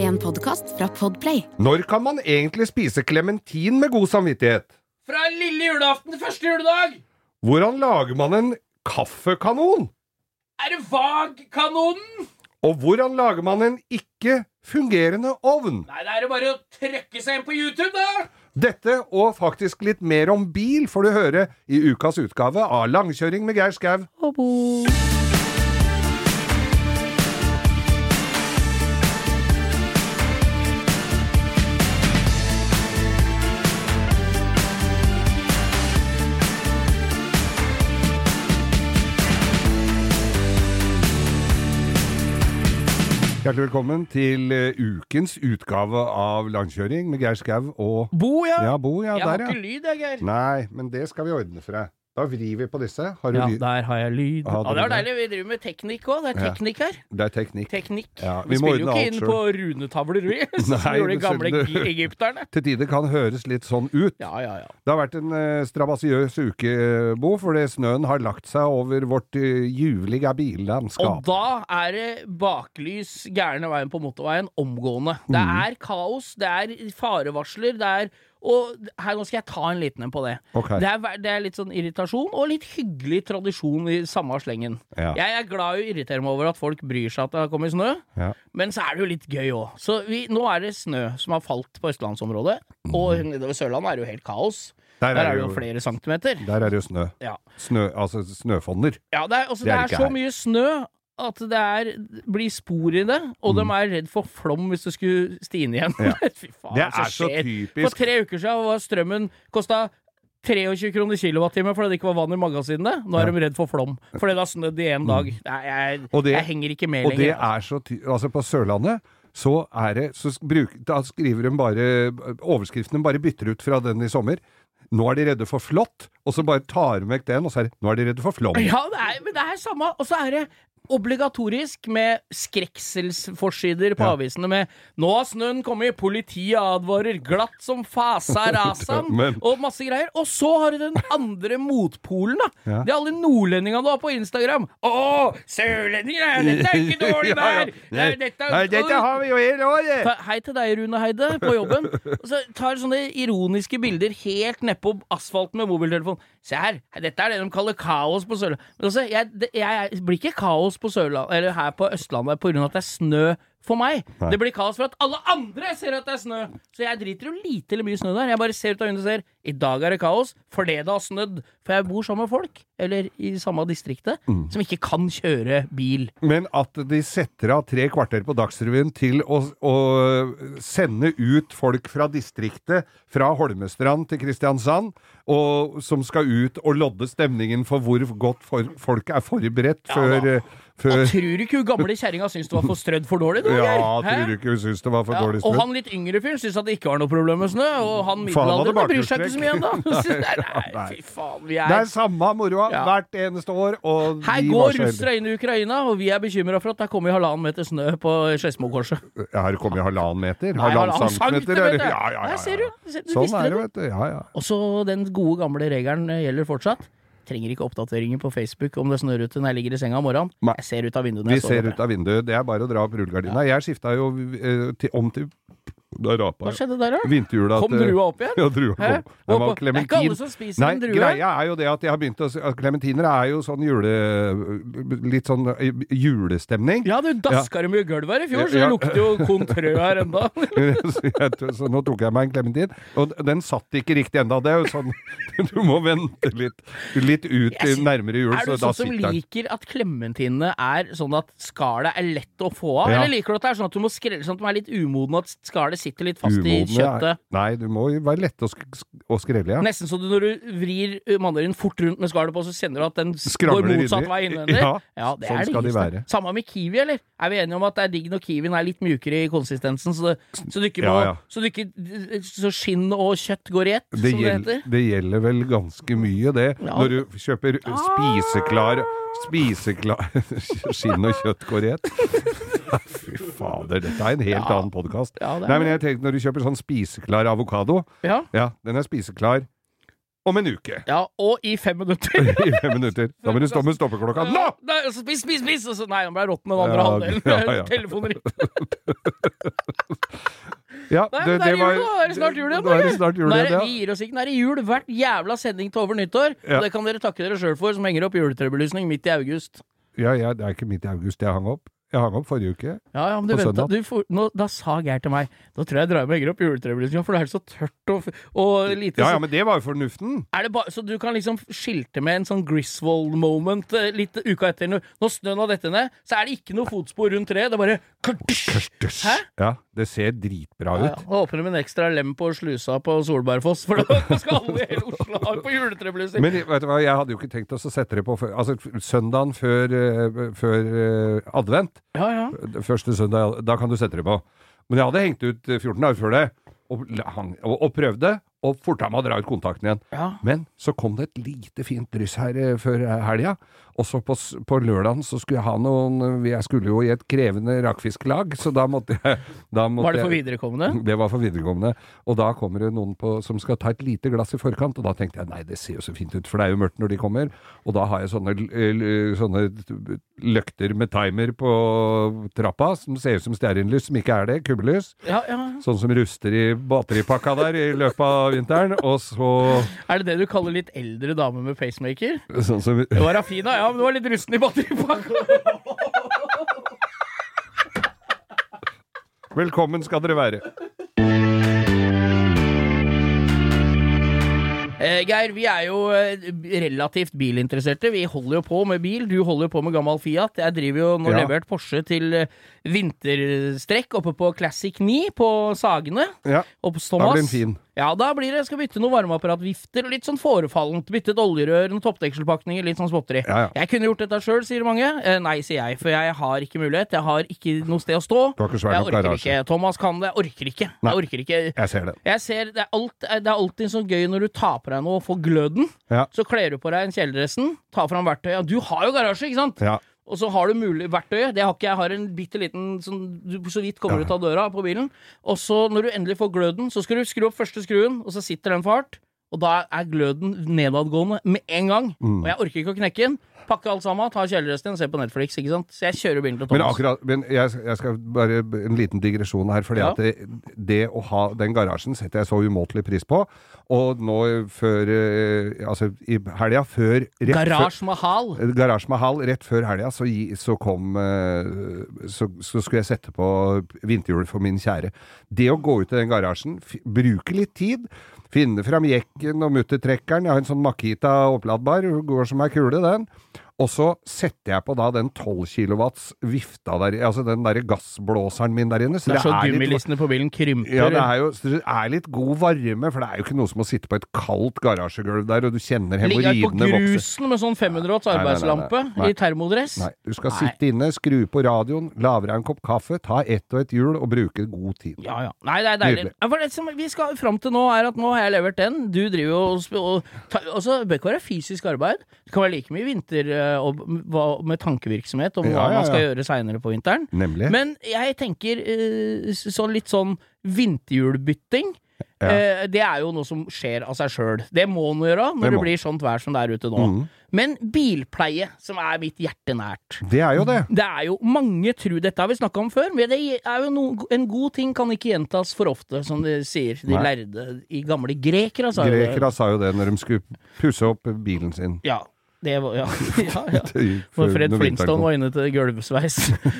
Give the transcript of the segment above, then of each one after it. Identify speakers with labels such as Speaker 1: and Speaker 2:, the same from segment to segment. Speaker 1: En podkast fra Podplay.
Speaker 2: Når kan man egentlig spise klementin med god samvittighet?
Speaker 3: Fra lille julaften til første juledag!
Speaker 2: Hvordan lager man en kaffekanon?
Speaker 3: Er det vag-kanonen?
Speaker 2: Og hvordan lager man en ikke-fungerende ovn?
Speaker 3: Nei, da er det bare å trøkke seg inn på YouTube, da!
Speaker 2: Dette og faktisk litt mer om bil får du høre i ukas utgave av Langkjøring med Geir Skau. Hjertelig velkommen til eh, ukens utgave av Langkjøring med Geir Skau og
Speaker 3: Bo, ja.
Speaker 2: Ja, Bo, ja,
Speaker 3: jeg har
Speaker 2: der,
Speaker 3: ikke
Speaker 2: ja.
Speaker 3: lyd, jeg, Geir.
Speaker 2: Nei, men det skal vi ordne for deg. Da vrir vi på disse. Har du
Speaker 3: Ja,
Speaker 2: lyd?
Speaker 3: der har jeg lyd.
Speaker 2: Ja,
Speaker 3: Ja,
Speaker 2: det
Speaker 3: det
Speaker 2: er
Speaker 3: var deilig. Vi driver med teknikk òg. Det er
Speaker 2: Ja.
Speaker 3: teknikk her.
Speaker 2: Det er teknikk.
Speaker 3: Teknikk.
Speaker 2: Ja, vi
Speaker 3: vi,
Speaker 2: må
Speaker 3: spiller jo
Speaker 2: ordne
Speaker 3: ikke
Speaker 2: alt
Speaker 3: inn
Speaker 2: selv.
Speaker 3: på runetavler, vi. Som
Speaker 2: Nei,
Speaker 3: gjorde de
Speaker 2: det
Speaker 3: gamle
Speaker 2: skjønner du.
Speaker 3: gi- egypterne.
Speaker 2: Til tider kan høres litt sånn ut.
Speaker 3: Ja, ja, ja.
Speaker 2: Det har vært en eh, strabasiøs uke, eh, Bo, fordi snøen har lagt seg over vårt eh, ljuvlige
Speaker 3: Og
Speaker 2: billandskap.
Speaker 3: da er det baklys gærne veien på motorveien omgående. Det
Speaker 2: Mm.
Speaker 3: er kaos, det er farevarsler, det er Og her, nå skal jeg ta en liten en på det.
Speaker 2: Ok.
Speaker 3: Det, er, ver- det er litt sånn irritasjon og litt hyggelig tradisjon i samme slengen.
Speaker 2: Ja.
Speaker 3: Jeg er glad i å irritere meg over at folk bryr seg at det har kommet snø,
Speaker 2: Ja.
Speaker 3: men så er det jo litt gøy òg. Så vi, nå er det snø som har falt på østlandsområdet, og nedover Sørlandet er det jo helt kaos.
Speaker 2: Mm. Der er
Speaker 3: Der er
Speaker 2: det
Speaker 3: det jo
Speaker 2: jo-
Speaker 3: flere centimeter.
Speaker 2: Der er det jo snø.
Speaker 3: Ja.
Speaker 2: snø altså snøfonner.
Speaker 3: Ja, det er,
Speaker 2: Det
Speaker 3: altså, det
Speaker 2: er
Speaker 3: er,
Speaker 2: det ikke
Speaker 3: så
Speaker 2: her.
Speaker 3: mye snø at det er, blir spor i det, og de er redd for flom hvis det skulle stine igjen.
Speaker 2: Mm. Ja.
Speaker 3: Fy faen,
Speaker 2: Det
Speaker 3: hva
Speaker 2: er så
Speaker 3: skjer? For
Speaker 2: typisk.
Speaker 3: tre uker siden var strømmen kosta 23 kroner kilowattime fordi det ikke var vann i magasinene. Nå er de redd for flom fordi det har snødd i én dag. Nei, jeg,
Speaker 2: Mm. Og det-
Speaker 3: jeg henger ikke med
Speaker 2: Og det
Speaker 3: lenger.
Speaker 2: er så ty Altså, på Sørlandet så er det så sk- bruk, Da skriver de bare Overskriften de bare bytter ut fra den i sommer. Nå er de redde for flått, og så bare tar de vekk den, og så er det Nå er de redde for flom.
Speaker 3: Ja, det er, men det er samme. Og så er det obligatorisk med skrekselsforsider på
Speaker 2: Ja.
Speaker 3: avisene med 'Nå har snøen kommet, politiet advarer, glatt som fasa rasan',
Speaker 2: Men-
Speaker 3: og masse greier. Og så har du den andre motpolen, da.
Speaker 2: Ja.
Speaker 3: Det er alle nordlendingene du har på Instagram. 'Å, sørlendinger, ja, dette er ikke dårlig vær'!
Speaker 2: Nei,
Speaker 3: Det- Dette
Speaker 2: nei, dette
Speaker 3: er
Speaker 2: har vi jo hele året!
Speaker 3: Ta- Hei til deg, Rune Heide, på jobben. Og så tar sånne ironiske bilder helt nedpå asfalten med mobiltelefon. Se her, dette er det de kaller kaos på Sørlandet. Men altså, jeg, det, jeg det blir ikke kaos på Sørland, eller her på Østlandet på grunn av at det er snø for meg.
Speaker 2: Nei.
Speaker 3: Det blir kaos for at alle andre ser at det er snø. Så jeg driter jo lite eller mye snø der. Jeg bare ser ut av vinduet og ser i dag er det kaos fordi det har snødd. For jeg bor sammen med folk, eller i samme distriktet,
Speaker 2: Mm.
Speaker 3: som ikke kan kjøre bil.
Speaker 2: Men at de setter av tre kvarter på Dagsrevyen til å, å sende ut folk fra distriktet, fra Holmestrand til Kristiansand, og, som skal ut og lodde stemningen for hvor godt for, folk er forberedt før,
Speaker 3: da.
Speaker 2: eh, før
Speaker 3: Og tror du ikke hun gamle kjerringa syns du var for strødd for dårlig? Du,
Speaker 2: Ja,
Speaker 3: Geir? Hæ?
Speaker 2: tror du ikke hun syns det var for
Speaker 3: Ja,
Speaker 2: dårlig
Speaker 3: og
Speaker 2: stund?
Speaker 3: han litt yngre fyren syns at det ikke var noe problem med snø, og han
Speaker 2: Faen, han hadde
Speaker 3: middelaldrende bryr seg ikke så mye ennå.
Speaker 2: bakhjulstrekk.
Speaker 3: Nei, nei,
Speaker 2: Nei.
Speaker 3: fy faen, vi
Speaker 2: Det er
Speaker 3: er
Speaker 2: samme moroa
Speaker 3: Ja.
Speaker 2: hvert eneste år, og
Speaker 3: Her
Speaker 2: de var
Speaker 3: går
Speaker 2: så heldige.
Speaker 3: russere inn i Ukraina, og vi er bekymra for at det er kommet halvannen meter snø på Skedsmokorset.
Speaker 2: Her kommer jeg halvannen meter.
Speaker 3: Nei,
Speaker 2: Halvannen centimeter. er det.
Speaker 3: centimeter.
Speaker 2: Ja, ja, ja,
Speaker 3: Der
Speaker 2: ja.
Speaker 3: ser du. Se- du
Speaker 2: Sånn
Speaker 3: visste
Speaker 2: er
Speaker 3: det.
Speaker 2: det, vet du. Ja, ja.
Speaker 3: Og så den gode gamle regelen eh, gjelder fortsatt. Trenger ikke oppdateringer på Facebook om det snør ute når jeg ligger i senga om morgenen.
Speaker 2: Nei.
Speaker 3: Jeg ser ut av vinduet når
Speaker 2: Vi
Speaker 3: jeg
Speaker 2: ser
Speaker 3: står
Speaker 2: ut
Speaker 3: oppe.
Speaker 2: av vinduet. Det er bare å dra opp rullegardina. Jeg skifta jo eh, til, om til Da rapa
Speaker 3: Hva
Speaker 2: jeg.
Speaker 3: skjedde der, da?
Speaker 2: Vinterhjula
Speaker 3: Kom
Speaker 2: til-
Speaker 3: drua opp igjen?
Speaker 2: eh, Ja, drua
Speaker 3: Hæ?
Speaker 2: kom. Den var
Speaker 3: Oppå- Det er ikke alle
Speaker 2: klementin.
Speaker 3: som spiser
Speaker 2: Nei,
Speaker 3: en drue.
Speaker 2: greia er jo det at jeg har begynt å s- at Klementiner er jo sånn jule... Litt sånn eh, julestemning.
Speaker 3: Ja, du daska dem jo i gulvet her i fjor, så
Speaker 2: Ja.
Speaker 3: det lukter jo kontrø her enda.
Speaker 2: så, jeg, t- så nå tok jeg meg en klementin, og d- den satt ikke riktig ennå. Det er jo sånn Du må vente litt, litt ut
Speaker 3: Jeg
Speaker 2: til
Speaker 3: sy-
Speaker 2: nærmere jul,
Speaker 3: Er du
Speaker 2: så da
Speaker 3: sånn som
Speaker 2: sitter den.
Speaker 3: liker at klementinene er sånn at skallet er lett å få av?
Speaker 2: Ja.
Speaker 3: Eller liker du at det er sånn at du må skrelle sånn at de er litt umodne, at skallet sitter litt fast i
Speaker 2: Umodne er-
Speaker 3: kjøttet?
Speaker 2: Nei, du må jo være lette å, sk sk- å skrelle, ja.
Speaker 3: Nesten så du når du vrir ø, mandarinen fort rundt med skallet på, så kjenner du at den s-
Speaker 2: Skravler
Speaker 3: går motsatt
Speaker 2: inni.
Speaker 3: vei innvendig.
Speaker 2: Ja,
Speaker 3: det
Speaker 2: sånn
Speaker 3: er det
Speaker 2: skal de
Speaker 3: giste.
Speaker 2: være.
Speaker 3: Samme med kiwi, eller? Er vi enige om at det er digg når kiwien er litt mjukere i konsistensen, så, det, så du ikke må
Speaker 2: Ja, ja.
Speaker 3: Så, du ikke, så skinn og kjøtt går i ett,
Speaker 2: Det,
Speaker 3: som det
Speaker 2: gjel,
Speaker 3: heter?
Speaker 2: det gjelder vel ganske mye, det.
Speaker 3: Ja. Ah!
Speaker 2: Når du kjøper spiseklar Spiseklar Skinn og kjøtt går i ett. Fy fader, dette er en helt annen podkast.
Speaker 3: Ja, det er
Speaker 2: Nei, men jeg tenkte når du kjøper sånn spiseklar avokado
Speaker 3: Ja.
Speaker 2: Ja, den er spiseklar om en uke.
Speaker 3: Ja, og i fem minutter.
Speaker 2: I fem minutter. Da må du stå med stoppeklokka nå!
Speaker 3: Nei, og så spis, spis, spis! Og så, nei, han ble råtten den andre
Speaker 2: Ja,
Speaker 3: halvdelen.
Speaker 2: ja, ja.
Speaker 3: Telefonen ringte.
Speaker 2: Ja,
Speaker 3: Nei, men det er jul nå! Er det snart jul igjen?
Speaker 2: Nå er det
Speaker 3: eller?
Speaker 2: snart jul
Speaker 3: Nå er det-
Speaker 2: igjen,
Speaker 3: Vi
Speaker 2: ja.
Speaker 3: gir oss ikke. Nå er det jul hvert jævla sending til over nyttår.
Speaker 2: Ja.
Speaker 3: Og det kan dere takke dere sjøl for, som henger opp juletrebelysning midt i august.
Speaker 2: Ja, ja, det er ikke midt i august jeg hang opp. Jeg hang opp forrige uke.
Speaker 3: Ja, ja, men du
Speaker 2: På
Speaker 3: venta,
Speaker 2: søndag.
Speaker 3: du får, nå, Da sa Geir til meg Da tror jeg jeg drar hjem og henger opp juletrebelysninga, for det er så tørt og, og lite
Speaker 2: Ja, ja, men det var jo fornuften.
Speaker 3: Er det ba, så du kan liksom skilte med en sånn Griswold-moment eh, litt uka etter. Når, når snøen har dette ned, så er det ikke noe fotspor rundt treet. Det er bare kardysj! Hæ?
Speaker 2: Ja, det ser dritbra
Speaker 3: Ja, ja.
Speaker 2: ut.
Speaker 3: Da åpner de en ekstra lem på slusa på Solbergfoss, for da skal alle i hele Oslo ha på juletreblusser.
Speaker 2: Men vet du hva, jeg hadde jo ikke tenkt oss å sette det på før, altså, f- søndagen før, eh, før eh, advent.
Speaker 3: Ja, ja.
Speaker 2: Første søndag, da kan du sette det på. Men jeg hadde hengt ut eh, 14 dager før det, og, la- hang, og, og prøvde, og forta meg å dra ut kontakten igjen.
Speaker 3: ja.
Speaker 2: Men så kom det et lite fint dryss her eh, før eh, helga, og så på, s- på lørdagen så skulle jeg ha noen eh, Jeg skulle jo i et krevende rakfisklag, så da måtte jeg da måtte
Speaker 3: Var det for
Speaker 2: jeg-
Speaker 3: viderekommende?
Speaker 2: Det var for videregående. Og da kommer det noen på, som skal ta et lite glass i forkant, og da tenkte jeg nei, det ser jo så fint ut, for det er jo mørkt når de kommer. Og da har jeg sånne, l- l- sånne t- løkter med timer på trappa som ser ut som stearinlys, som ikke er det, kubbelys.
Speaker 3: Ja, ja.
Speaker 2: Sånn som ruster i batteripakka der i løpet av vinteren, og så
Speaker 3: Er det det du kaller litt eldre dame med pacemaker?
Speaker 2: Sånn som
Speaker 3: Det var Rafina, ja, men du var litt rusten i batteripakka.
Speaker 2: Velkommen skal dere være.
Speaker 3: Eh, Geir, vi er jo eh, relativt bilinteresserte. Vi holder jo på med bil. Du holder jo på med gammel Fiat. Jeg driver jo nå
Speaker 2: Ja.
Speaker 3: levert Porsche til eh, vinterstrekk oppe på Classic 9 på Sagene.
Speaker 2: Ja,
Speaker 3: Oppe hos
Speaker 2: da
Speaker 3: Thomas.
Speaker 2: blir den fin.
Speaker 3: Ja, da blir det skal bytte noen varmeapparatvifter, litt sånn forefallent. Bytte et oljerør, noen toppdekselpakninger, litt sånn småtteri.
Speaker 2: Ja, ja.
Speaker 3: Jeg kunne gjort dette sjøl, sier mange. Eh, nei, sier jeg, for jeg har ikke mulighet. Jeg har ikke noe sted å stå.
Speaker 2: Du har ikke svær
Speaker 3: Jeg
Speaker 2: nok
Speaker 3: orker
Speaker 2: garasje.
Speaker 3: ikke. Thomas kan det. Jeg orker ikke.
Speaker 2: Nei.
Speaker 3: Jeg orker ikke.
Speaker 2: Jeg ser det.
Speaker 3: Jeg ser, det er, alt, eh, det er alltid så gøy når du tar på deg noe og får gløden.
Speaker 2: Ja.
Speaker 3: Så kler du på deg en kjeledressen, tar fram verktøyet. Ja, Du har jo garasje, ikke sant?
Speaker 2: Ja.
Speaker 3: Og så har du mulig verktøyet. Det har ikke jeg. Jeg har en bitte liten som du så vidt kommer ut av døra på bilen. Og så, når du endelig får gløden, så skal du skru opp første skruen, og så sitter den for hardt. Og da er gløden nedadgående med en gang.
Speaker 2: Mm.
Speaker 3: Og jeg orker ikke å knekke den. Pakke alt sammen, ta kjeledressen igjen, se på Netflix, ikke sant. Så jeg kjører bilen til
Speaker 2: Men
Speaker 3: Thomas.
Speaker 2: akkurat men jeg, jeg skal bare b- en liten digresjon her. Fordi
Speaker 3: Ja.
Speaker 2: at det, det å ha den garasjen setter jeg så umåtelig pris på. Og nå før eh, Altså i helga før rett før-
Speaker 3: Garasje Mahal.
Speaker 2: Eh, Garasje Mahal, rett før helga, så, gi- så kom eh, så, så skulle jeg sette på vinterhjul for min kjære. Det å gå ut i den garasjen, f bruke litt tid, finne fram jekken og muttertrekkeren, jeg har en sånn Makita oppladbar, går som ei kule, den. Og så setter jeg på da den 12 kilowatts vifta der, altså den derre gassblåseren min der inne. Så
Speaker 3: Det er så
Speaker 2: litt-
Speaker 3: gummilistene på bilen krymper.
Speaker 2: ja, det er jo så det er litt god varme, for det er jo ikke noe som å sitte på et kaldt garasjegulv der, og du kjenner
Speaker 3: Ligger på
Speaker 2: hemoroidene vokse.
Speaker 3: grusen med sånn 500 watts
Speaker 2: Nei, nei, nei, nei.
Speaker 3: arbeidslampe
Speaker 2: Nei.
Speaker 3: i termodress.
Speaker 2: Nei, du skal
Speaker 3: Nei.
Speaker 2: sitte inne, skru på radioen, lave deg en kopp kaffe, ta ett og ett hjul og bruke god tid.
Speaker 3: Ja, ja. Nei, det er deilig.
Speaker 2: Nydelig.
Speaker 3: Ja, For det som vi skal fram til nå, er at nå har jeg levert den. Du driver jo og sp- og ta- Altså, det bør ikke være fysisk arbeid. Det kan være like mye vinter eh, og, hva- med tankevirksomhet om hva
Speaker 2: Ja, ja,
Speaker 3: man skal
Speaker 2: ja.
Speaker 3: gjøre seinere på vinteren.
Speaker 2: Nemlig.
Speaker 3: Men jeg tenker eh, s- sånn litt sånn vinterhjulbytting.
Speaker 2: Ja.
Speaker 3: eh, det er jo noe som skjer av seg sjøl. Det må man gjøre når
Speaker 2: Det
Speaker 3: det,
Speaker 2: må. Mhm.
Speaker 3: blir sånt vær som det er ute nå. Men bilpleie, som er mitt hjerte nært.
Speaker 2: det er jo det.
Speaker 3: Det er jo mange tru Dette har vi snakka om før, men det er jo no, en god ting kan ikke gjentas for ofte, som de sier. De
Speaker 2: Nei.
Speaker 3: lærde i gamle grekere, sa jo det.
Speaker 2: Grekerne sa jo det når de skulle pusse opp bilen sin.
Speaker 3: Ja. Det var, ja, ja, ja.
Speaker 2: til-
Speaker 3: Når
Speaker 2: før- når
Speaker 3: Fred
Speaker 2: vinteren
Speaker 3: Flintstone
Speaker 2: kom.
Speaker 3: var inne til gulvsveis.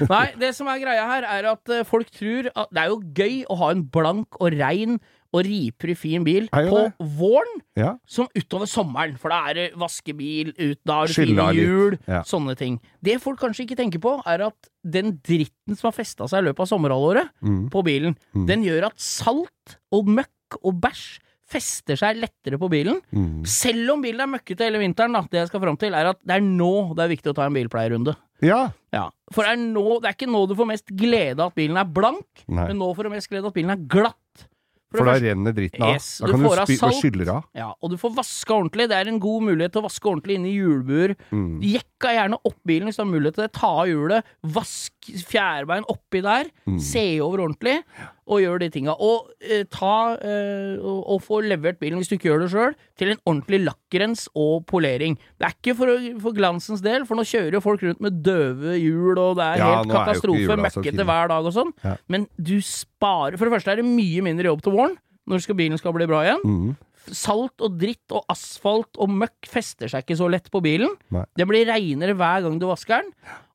Speaker 3: Nei, det som er greia her, er at eh, folk tror at Det er jo gøy å ha en blank og rein og riprig fin bil
Speaker 2: Er jo
Speaker 3: på
Speaker 2: det.
Speaker 3: våren
Speaker 2: Ja.
Speaker 3: som utover sommeren, for da er det vaskebil, ut, da er det fine
Speaker 2: Skylla litt,
Speaker 3: hjul,
Speaker 2: ja.
Speaker 3: sånne ting. Det folk kanskje ikke tenker på, er at den dritten som har festa seg i løpet av sommerhalvåret
Speaker 2: Mm.
Speaker 3: på bilen,
Speaker 2: Mm.
Speaker 3: den gjør at salt og møkk og bæsj fester seg lettere på bilen.
Speaker 2: Mm.
Speaker 3: Selv om bilen er møkkete hele vinteren, da, det jeg skal fram til, er at det er nå det er viktig å ta en bilpleierrunde.
Speaker 2: ja.
Speaker 3: Ja. For det er, nå, det er ikke nå du får mest glede av at bilen er blank,
Speaker 2: Nei.
Speaker 3: men nå får du mest glede av at bilen er glatt. For det
Speaker 2: For da
Speaker 3: første-
Speaker 2: renner dritten av.
Speaker 3: Yes,
Speaker 2: Da
Speaker 3: du
Speaker 2: kan du
Speaker 3: får av
Speaker 2: spy og
Speaker 3: salt.
Speaker 2: skyller av.
Speaker 3: ja, og du får vaska ordentlig. Det er en god mulighet til å vaske ordentlig inne i hjulbuer.
Speaker 2: Mm.
Speaker 3: Jekka gjerne opp bilen hvis du har
Speaker 2: Mm.
Speaker 3: mulighet til det. Ta av hjulet, vask fjærbein oppi der, se over ordentlig. og gjør de tinga. Og eh, ta eh, og, og få levert bilen, hvis du ikke gjør det sjøl, til en ordentlig lakkrens og polering. Det er ikke for, å- for glansens del, for nå kjører jo folk rundt med døve hjul, og det er
Speaker 2: Ja,
Speaker 3: helt
Speaker 2: nå er jo ikke
Speaker 3: katastrofe,
Speaker 2: hjula så fine.
Speaker 3: møkkete hver dag og sånn.
Speaker 2: Ja.
Speaker 3: Men du sparer For det første er det mye mindre jobb til våren, når skal bilen skal bli bra igjen.
Speaker 2: Mhm.
Speaker 3: Salt og dritt og asfalt og møkk fester seg ikke så lett på bilen.
Speaker 2: Nei.
Speaker 3: Det blir reinere hver gang du vasker den.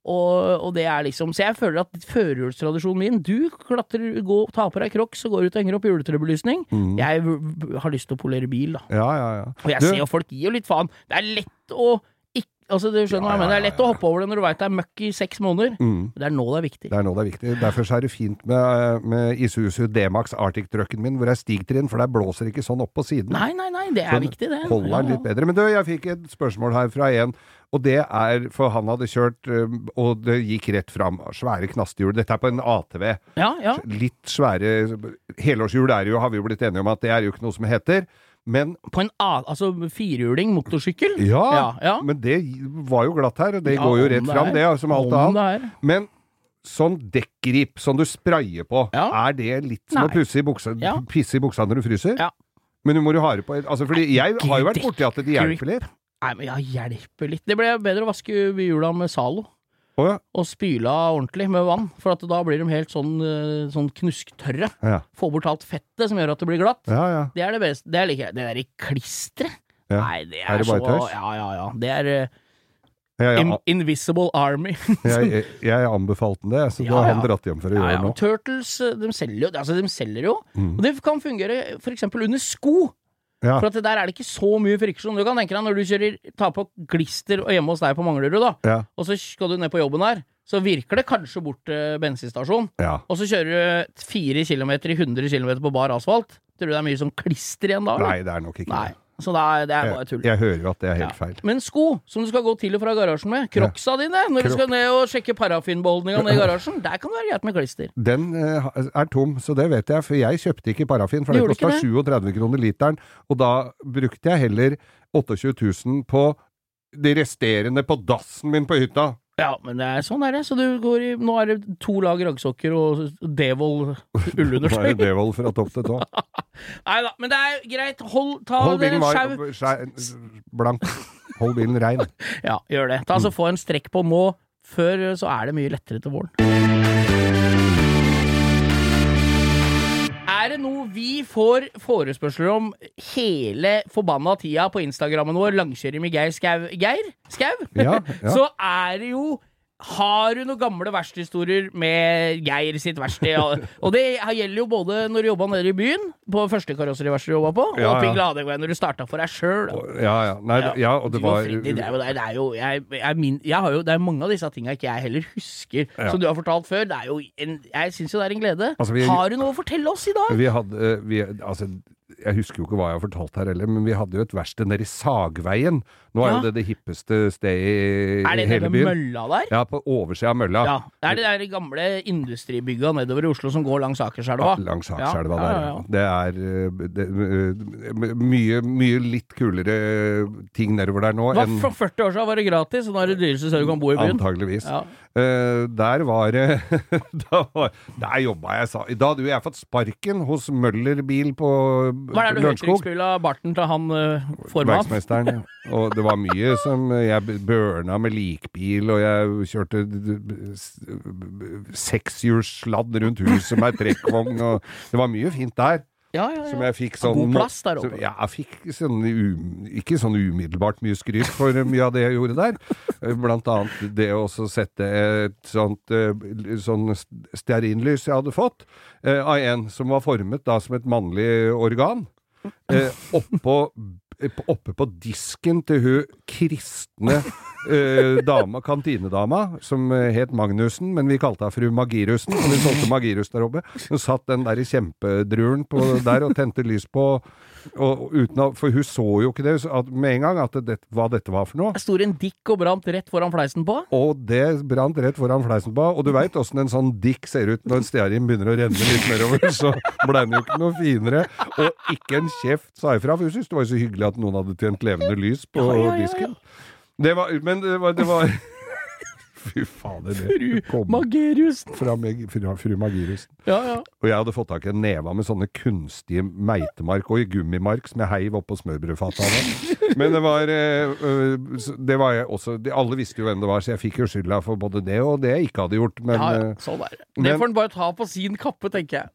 Speaker 3: Og, og det er liksom Så jeg føler at førjulstradisjonen min Du klatrer, gå, tar på deg crocs og går ut og henger opp juletrebelysning. Jeg v- v- har lyst til å polere bil, da.
Speaker 2: Ja, ja, ja.
Speaker 3: Og jeg
Speaker 2: Mhm. Du-
Speaker 3: ser jo folk gir jo litt faen. Det er lett å ikke, altså, du skjønner
Speaker 2: Ja,
Speaker 3: hva jeg
Speaker 2: ja, Mhm.
Speaker 3: mener. Det er lett å hoppe over det når du veit det er møkk i seks måneder. Det er nå det er viktig.
Speaker 2: Det er nå det er viktig. Derfor så er det fint med, med Isuzu D-Max Arctic-trucken min, hvor det er stigtrinn, for der blåser ikke sånn opp på siden.
Speaker 3: Nei, nei, nei, det er
Speaker 2: Sånn,
Speaker 3: viktig, det.
Speaker 2: Holder
Speaker 3: Ja,
Speaker 2: den
Speaker 3: ja.
Speaker 2: litt bedre. Men du, jeg fikk et spørsmål her fra en, og det er For han hadde kjørt, øhm, og det gikk rett fram. Svære knastehjul. Dette er på en ATV.
Speaker 3: Ja, ja.
Speaker 2: Litt svære Helårshjul er jo, har vi jo blitt enige om at det er jo ikke noe som heter. Men
Speaker 3: På en A, altså firhjuling motorsykkel.
Speaker 2: ja,
Speaker 3: Ja, ja.
Speaker 2: men det var jo glatt her, og det
Speaker 3: Ja,
Speaker 2: går jo
Speaker 3: om
Speaker 2: rett
Speaker 3: det
Speaker 2: fram,
Speaker 3: er.
Speaker 2: det, som alt
Speaker 3: Om
Speaker 2: annet.
Speaker 3: det er.
Speaker 2: Men sånn dekkgrip som du sprayer på,
Speaker 3: Ja.
Speaker 2: er det litt som
Speaker 3: Nei.
Speaker 2: å pusse i buksa,
Speaker 3: Ja.
Speaker 2: pisse i buksa når du fryser?
Speaker 3: Ja.
Speaker 2: Men du må jo ha det på altså, Fordi jeg har jo vært borti at det
Speaker 3: Dekkgrip.
Speaker 2: hjelper litt.
Speaker 3: Nei, men jeg hjelper litt. Det ble bedre å vaske hjula med Zalo.
Speaker 2: Å ja.
Speaker 3: Og spyle av ordentlig med vann, for at da blir de helt sånn, eh, sånn knusktørre.
Speaker 2: Ja.
Speaker 3: Få bort alt fettet som gjør at det blir glatt.
Speaker 2: Ja, ja.
Speaker 3: Det er det beste. Det liker jeg. Det derre klisteret.
Speaker 2: Ja.
Speaker 3: Nei, det
Speaker 2: Er
Speaker 3: er,
Speaker 2: det
Speaker 3: så
Speaker 2: bare tøys?
Speaker 3: Ja, ja, ja. Det er eh,
Speaker 2: Jeg, jeg,
Speaker 3: in Invisible Army.
Speaker 2: jeg, jeg, jeg anbefalte den det, så da
Speaker 3: Ja,
Speaker 2: har
Speaker 3: ja.
Speaker 2: han dratt hjem for å
Speaker 3: Ja,
Speaker 2: gjøre
Speaker 3: ja.
Speaker 2: det nå. Mm.
Speaker 3: og Turtles eh, de selger jo, altså, de selger jo. og det kan fungere for eksempel under sko.
Speaker 2: Ja.
Speaker 3: For at det der er det ikke så mye friksjon. Du kan tenke deg når du kjører, tar på glister og hjemme hos deg på Manglerud, da,
Speaker 2: Ja,
Speaker 3: og så skal du ned på jobben her, så virker det kanskje bort til bensinstasjonen.
Speaker 2: ja.
Speaker 3: Og så kjører du 4 km i 100 km på bar asfalt. Tror du det er mye sånn klister igjen da? eller?
Speaker 2: Nei, det er nok ikke
Speaker 3: Nei.
Speaker 2: det.
Speaker 3: Så det er, det er bare
Speaker 2: Jeg,
Speaker 3: tull.
Speaker 2: jeg hører jo at det er helt
Speaker 3: Ja.
Speaker 2: feil.
Speaker 3: Men sko som du skal gå til og fra garasjen med, crocsa dine, når du skal ned og sjekke parafinbeholdninga ned i garasjen, der kan det være greit med klister.
Speaker 2: Den eh, er tom, så det vet jeg, for jeg kjøpte ikke parafin, for
Speaker 3: Du
Speaker 2: det
Speaker 3: gjorde
Speaker 2: kosta
Speaker 3: ikke
Speaker 2: 37 kroner literen, og da brukte jeg heller 28 000 på de resterende på dassen min på hytta.
Speaker 3: Ja, men det er sånn er det. Så du går i Nå er det to lag raggsokker og Devold
Speaker 2: Bare
Speaker 3: ullundertøy.
Speaker 2: Devold fra topp til tå.
Speaker 3: Nei da, men det er greit. Hold, ta
Speaker 2: Hold
Speaker 3: dere
Speaker 2: bilen
Speaker 3: en
Speaker 2: var,
Speaker 3: sjau.
Speaker 2: skjær- blank. Hold bilen rein.
Speaker 3: Ja, gjør det. Ta
Speaker 2: Mm.
Speaker 3: altså Få en strekk på nå. Før eh, så er det mye lettere til våren. Er det noe vi får forespørsler om hele forbanna tida på Instagrammen vår, langkjøring med Geir Skau Geir? Skau?
Speaker 2: Ja, ja.
Speaker 3: så er det jo har du noen gamle verkstedhistorier med Geir sitt verksted? Og, og det gjelder jo både når du jobba nede i byen, på første karosseriverkstedet du jobba på, og
Speaker 2: Ja, ja.
Speaker 3: oppe i Gladegveien når du starta for deg sjøl.
Speaker 2: Ja, ja. Nei,
Speaker 3: Ja.
Speaker 2: ja, og det
Speaker 3: Du og
Speaker 2: var
Speaker 3: Freddy, det er jo, det er jo, jeg, jeg, min, jeg har jo, det er mange av disse tinga ikke jeg heller husker,
Speaker 2: Ja.
Speaker 3: som du har fortalt før. Det er jo en, jeg syns jo det er en glede.
Speaker 2: Altså, vi-
Speaker 3: har du noe å fortelle oss i dag?
Speaker 2: Vi hadde eh, vi, Altså, jeg husker jo ikke hva jeg har fortalt her heller, men vi hadde jo et verksted nede i Sagveien. Nå er
Speaker 3: Ja.
Speaker 2: jo det det hippeste stedet i,
Speaker 3: Er
Speaker 2: i
Speaker 3: det
Speaker 2: hele
Speaker 3: den
Speaker 2: byen.
Speaker 3: mølla der?
Speaker 2: Ja, på oversida av mølla.
Speaker 3: Ja. Det er det der gamle industribygga nedover i Oslo som går langs Akerselva.
Speaker 2: Langs
Speaker 3: Ja,
Speaker 2: Akerselva
Speaker 3: ja,
Speaker 2: der.
Speaker 3: ja, ja.
Speaker 2: Det er eh, det, eh, mye, mye litt kulere eh, ting nedover der nå
Speaker 3: Det var
Speaker 2: enn
Speaker 3: for 40 år siden var det gratis, og nå er det dyreste stedet du kan bo i byen.
Speaker 2: Antageligvis.
Speaker 3: Ja.
Speaker 2: Eh, der var det da var- Der jobba jeg, sa Da hadde jo jeg fått sparken hos Møller bil på
Speaker 3: Hva er det du
Speaker 2: Lørenskog.
Speaker 3: høytrykksspyla barten til han uh, formann?
Speaker 2: Verksmesteren. Og det var mye som Jeg børna med likbil, og jeg kjørte d- d- s- sekshjulssladd rundt huset med ei trekkvogn, og det var mye fint der.
Speaker 3: Ja, ja,
Speaker 2: Som
Speaker 3: ja.
Speaker 2: jeg fikk sånn
Speaker 3: God plass der oppe.
Speaker 2: Så jeg fikk sånn um, ikke sånn umiddelbart mye skryt for eh, mye av det jeg gjorde der. Eh, Blant annet det å også sette et sånt eh, l- sånn s- stearinlys jeg hadde fått, eh, av en som var formet da som et mannlig organ, eh, oppå eh, på- Oppe på disken til hun kristne eh, dama, kantinedama, som eh, het Magnussen, men vi kalte henne fru Magirussen, for vi solgte Magirus der oppe. Hun satt den der kjempedruren på der og tente lys på, og, og uten å, for hun så jo ikke det så at, med en gang, at det, hva dette var for noe.
Speaker 3: Det Stod en dikk og brant rett foran fleisen på?
Speaker 2: Og det brant rett foran fleisen på. Og du veit åssen en sånn dick ser ut når en stearin begynner å renne litt nedover, så blei den jo ikke noe finere. Og ikke en kjeft sa ifra, for hun syntes det var jo så hyggelig at noen hadde tjent levende lys på
Speaker 3: Ja, ja, ja, ja.
Speaker 2: disken. Det var, men det var, det var Fy fader, det
Speaker 3: Fru
Speaker 2: kom
Speaker 3: Mageriusen.
Speaker 2: fra meg, fra fru Magirussen.
Speaker 3: Ja, ja.
Speaker 2: Og jeg hadde fått tak i en neve med sånne kunstige meitemark og i gummimark som jeg heiv oppå smørbrødfata. da. Men det var, eh, øh, s- det var jeg også de, Alle visste jo hvem det var, så jeg fikk jo skylda for både det og det jeg ikke hadde gjort. Men,
Speaker 3: ja, ja.
Speaker 2: eh,
Speaker 3: Sånn er det. Det
Speaker 2: men-
Speaker 3: får han bare ta på sin kappe, tenker jeg.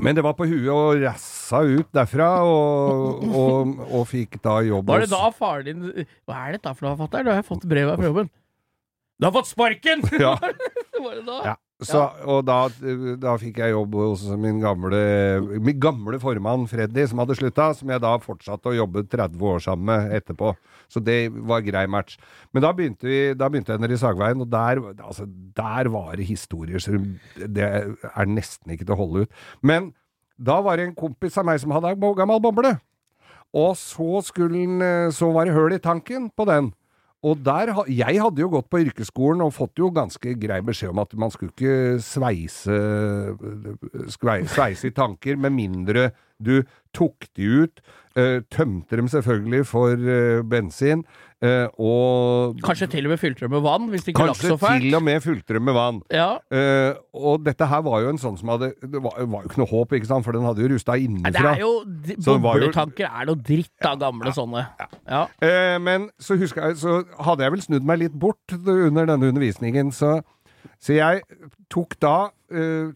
Speaker 2: men det var på huet og rassa ut derfra, og, og, og fikk da jobb
Speaker 3: Var det
Speaker 2: hos-
Speaker 3: da faren din Hva er dette for noe, fatter'n? Da har jeg fått brev her fra jobben. Du har fått sparken!
Speaker 2: Ja.
Speaker 3: Var det da?
Speaker 2: Ja. Så, og da, da fikk jeg jobb hos min gamle, min gamle formann Freddy, som hadde slutta, som jeg da fortsatte å jobbe 30 år sammen med etterpå. Så det var grei match. Men da begynte, vi, da begynte jeg nede i Sagveien, og der, altså, der var det historier som Det er nesten ikke til å holde ut. Men da var det en kompis av meg som hadde ei gammel boble. Og så, skulle, den, eh, så var det høl i tanken på den. Og der, ha- jeg hadde jo gått på yrkesskolen og fått jo ganske grei beskjed om at man skulle ikke sveise, skvei- sveise i tanker med mindre du tok de ut, eh, tømte dem selvfølgelig for eh, bensin, eh, og
Speaker 3: Kanskje til og med fylte det med vann, hvis det ikke lakk
Speaker 2: kanskje
Speaker 3: så fælt.
Speaker 2: til og med fulgte dem med vann.
Speaker 3: Ja.
Speaker 2: Eh, og dette her var jo en sånn som hadde Det var, var jo ikke noe håp, ikke sant, for den hadde jo rusta
Speaker 3: Nei, det
Speaker 2: innenfra.
Speaker 3: er jo de-
Speaker 2: Så det var jo-
Speaker 3: Bobletanker er noe dritt av gamle sånne. Ja.
Speaker 2: Eh, men så, husker jeg, så hadde jeg vel snudd meg litt bort under denne undervisningen, så, så jeg tok da eh,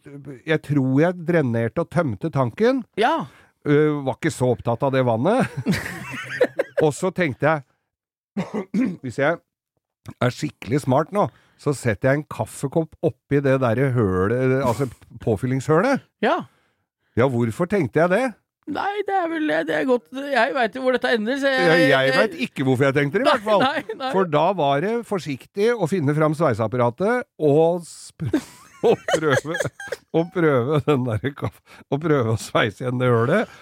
Speaker 2: Jeg tror jeg drenerte og tømte tanken.
Speaker 3: ja.
Speaker 2: Eh, var ikke så opptatt av det vannet. og så tenkte jeg Hvis jeg er skikkelig smart nå, så setter jeg en kaffekopp oppi det derre hølet, altså påfyllingshølet.
Speaker 3: Ja.
Speaker 2: Ja, hvorfor tenkte jeg det?
Speaker 3: Nei, det er vel det er godt Jeg veit jo hvor dette ender, så
Speaker 2: Jeg, jeg veit ikke hvorfor jeg tenkte det, i hvert fall.
Speaker 3: Eh, Nei, nei, nei.
Speaker 2: For da var det forsiktig å finne fram sveiseapparatet og, sp- og prøve Og prøve den derre kaff- Og prøve å sveise igjen det hølet.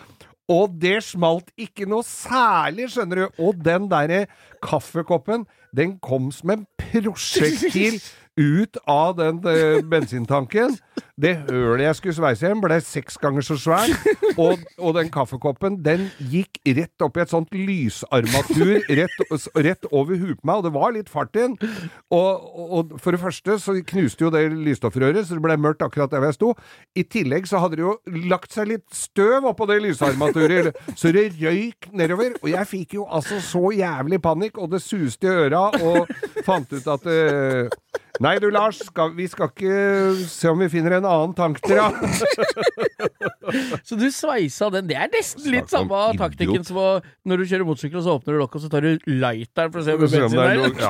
Speaker 2: Og det smalt ikke noe særlig, skjønner du. Og den derre kaffekoppen, den kom som en prosjektil ut av den eh, bensintanken. Det hølet jeg skulle sveise igjen, ble seks ganger så svær. Og, og den kaffekoppen, den gikk rett opp i et sånt lysarmatur rett, rett over huet på meg, og det var litt fart i den. Og, og for det første så knuste jo det lysstoffrøret, så det ble mørkt akkurat der hvor jeg sto. I tillegg så hadde det jo lagt seg litt støv oppå det lysarmaturet, så det røyk nedover. Og jeg fikk jo altså så jævlig panikk, og det suste i øra, og fant ut at eh, Nei du, Lars, skal, vi skal ikke se om vi finner en annen tank til deg.
Speaker 3: Så du sveisa den. Det er nesten litt
Speaker 2: Snakk om
Speaker 3: samme
Speaker 2: idiot.
Speaker 3: taktikken som å- når du kjører motorsykkel, og så åpner du lokket, og så tar du lighteren for å se om det er
Speaker 2: Se om
Speaker 3: bensin
Speaker 2: det er
Speaker 3: der.
Speaker 2: noe-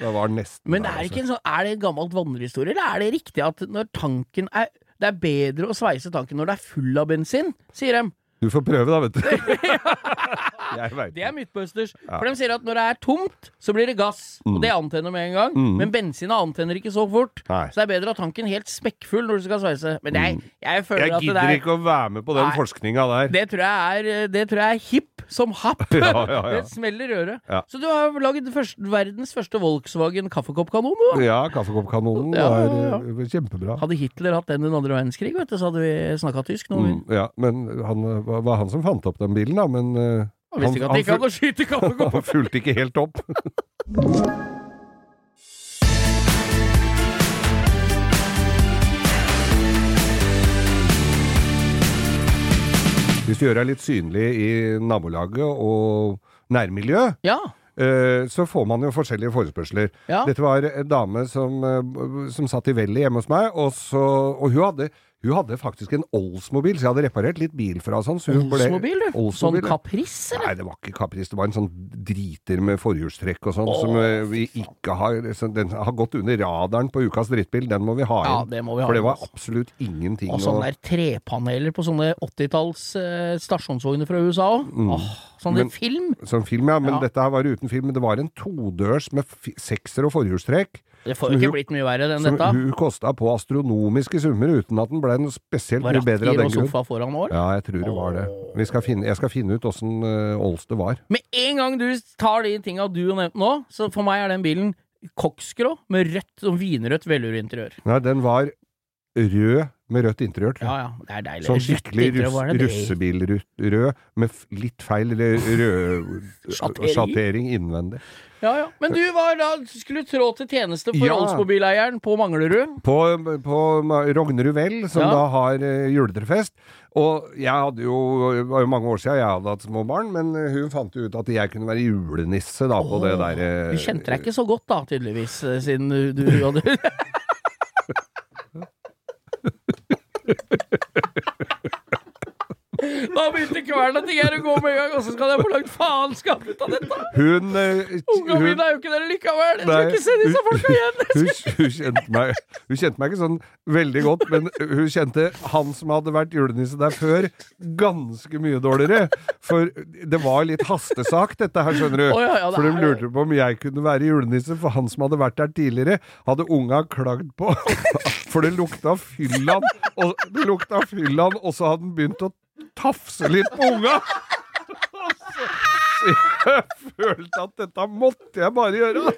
Speaker 2: Ja, det var nesten
Speaker 3: Men
Speaker 2: der,
Speaker 3: det er,
Speaker 2: altså.
Speaker 3: ikke en sånn, er det en gammelt vandrehistorie, eller er det riktig at når tanken er det er bedre å sveise tanken når det er full av bensin, sier de.
Speaker 2: Du får prøve, da, vet du. jeg veit
Speaker 3: Det er
Speaker 2: det.
Speaker 3: Mythbusters. For de sier at når det er tomt, så blir det gass. Og det antenner med en gang. Men bensina antenner ikke så fort.
Speaker 2: Mm. Nei. Mm.
Speaker 3: Så det er bedre å ha tanken helt smekkfull når du skal sveise. Men jeg, jeg føler
Speaker 2: Jeg
Speaker 3: at det
Speaker 2: gidder
Speaker 3: der
Speaker 2: ikke å være med på den
Speaker 3: Nei.
Speaker 2: forskninga der.
Speaker 3: det tror, jeg er, eh, det tror jeg er hipp som happ.
Speaker 2: Ja, ja, ja.
Speaker 3: Det smeller i øret.
Speaker 2: Ja.
Speaker 3: Så du har lagd først, verdens første Volkswagen kaffekoppkanon, du. da.
Speaker 2: Ja, kaffekoppkanonen
Speaker 3: Ja,
Speaker 2: var
Speaker 3: ja, ja.
Speaker 2: eh, kjempebra.
Speaker 3: Hadde Hitler hatt den under andre verdenskrig, vet du, så hadde vi snakka tysk. Noen
Speaker 2: Mm, ja, men han eh, var var han som fant opp den bilen, da, men eh,
Speaker 3: Han visste ikke at det ikke
Speaker 2: han,
Speaker 3: an å skyte
Speaker 2: ful-
Speaker 3: kaffekopp.
Speaker 2: han fulgte ikke helt opp. Hvis du gjør deg litt synlig i nabolaget og nærmiljøet,
Speaker 3: Ja.
Speaker 2: Eh, så får man jo forskjellige forespørsler.
Speaker 3: Ja.
Speaker 2: Dette var en dame som, eh, som satt i vellet hjemme hos meg, og, så, og hun, hadde, hun hadde faktisk en Oldsmobil, så jeg hadde reparert litt bil fra sånn. Så hun ble-
Speaker 3: Oldsmobil, du. Sånn
Speaker 2: Oldsmobil, ja.
Speaker 3: Caprice, eller?
Speaker 2: Nei, det var ikke Capris. Det var en sånn driter med forhjulstrekk og sånn, som eh, vi ikke har så Den har gått under radaren på ukas drittbil. Den må vi ha
Speaker 3: Ja,
Speaker 2: inn.
Speaker 3: det må vi ha
Speaker 2: For det
Speaker 3: inn,
Speaker 2: var
Speaker 3: altså.
Speaker 2: absolutt ingenting
Speaker 3: Og sånn sånne
Speaker 2: å
Speaker 3: der trepaneler på sånne 80-talls eh, stasjonsvogner fra USA òg. Åh, sånne
Speaker 2: Mm. Men-
Speaker 3: film!
Speaker 2: Som film, ja. Men
Speaker 3: Ja.
Speaker 2: dette her var uten film. Men det var en todørs med fi- sekser og forhjulstrekk.
Speaker 3: Det får
Speaker 2: som
Speaker 3: jo ikke
Speaker 2: hun-
Speaker 3: blitt mye verre enn
Speaker 2: Som
Speaker 3: dette.
Speaker 2: hun kosta på astronomiske summer uten at den ble noe spesielt
Speaker 3: Var
Speaker 2: mye bedre av
Speaker 3: rattgir
Speaker 2: den
Speaker 3: og
Speaker 2: grunn.
Speaker 3: sofa foran år.
Speaker 2: Ja, jeg tror det var det. Vi skal finne, jeg skal finne ut åssen Åls det var.
Speaker 3: Med en gang du tar de tinga du har nevnt nå, så for meg er den bilen koksgrå med rødt og vinrødt sånn velurinteriør.
Speaker 2: Nei, den var rød med rødt interiør, tror jeg.
Speaker 3: Ja, ja. Det er deilig.
Speaker 2: Sånn
Speaker 3: Rødt
Speaker 2: skikkelig
Speaker 3: interiør,
Speaker 2: russ,
Speaker 3: hva er det?
Speaker 2: russebilrød med f- litt feil eller rød
Speaker 3: Sjattering.
Speaker 2: sjattering innvendig.
Speaker 3: Ja, ja. Men du var da, skulle trå til tjeneste for
Speaker 2: Ja.
Speaker 3: Oldsmobileieren på Manglerud.
Speaker 2: På, på Rognerud Vel, som
Speaker 3: Ja.
Speaker 2: da har eh, juletrefest. Og jeg hadde jo, det var jo mange år siden jeg hadde hatt små barn, men eh, hun fant jo ut at jeg kunne være julenisse da på det der eh,
Speaker 3: Du kjente deg ikke så godt da, tydeligvis, eh, siden du- du hadde Da begynte kvelden at jeg er å gå med en gang, og så skal jeg få lagt faenskap ut av dette!
Speaker 2: Hun, eh,
Speaker 3: Unga
Speaker 2: hun,
Speaker 3: mine er jo ikke der likevel! Jeg skal
Speaker 2: Nei.
Speaker 3: ikke se disse folka igjen!
Speaker 2: hun, hun, kjente meg, hun kjente meg ikke sånn veldig godt, men hun kjente han som hadde vært julenisse der før, ganske mye dårligere. For det var litt hastesak, dette her, skjønner du.
Speaker 3: Å, ja, ja, det
Speaker 2: for de
Speaker 3: er det.
Speaker 2: lurte på om jeg kunne være julenisse, for han som hadde vært der tidligere, hadde unga klagd på. For det lukta fyllan, og, det lukta fyllan, og så hadde han begynt å tafse litt på unga. Så jeg følte at dette måtte jeg bare gjøre.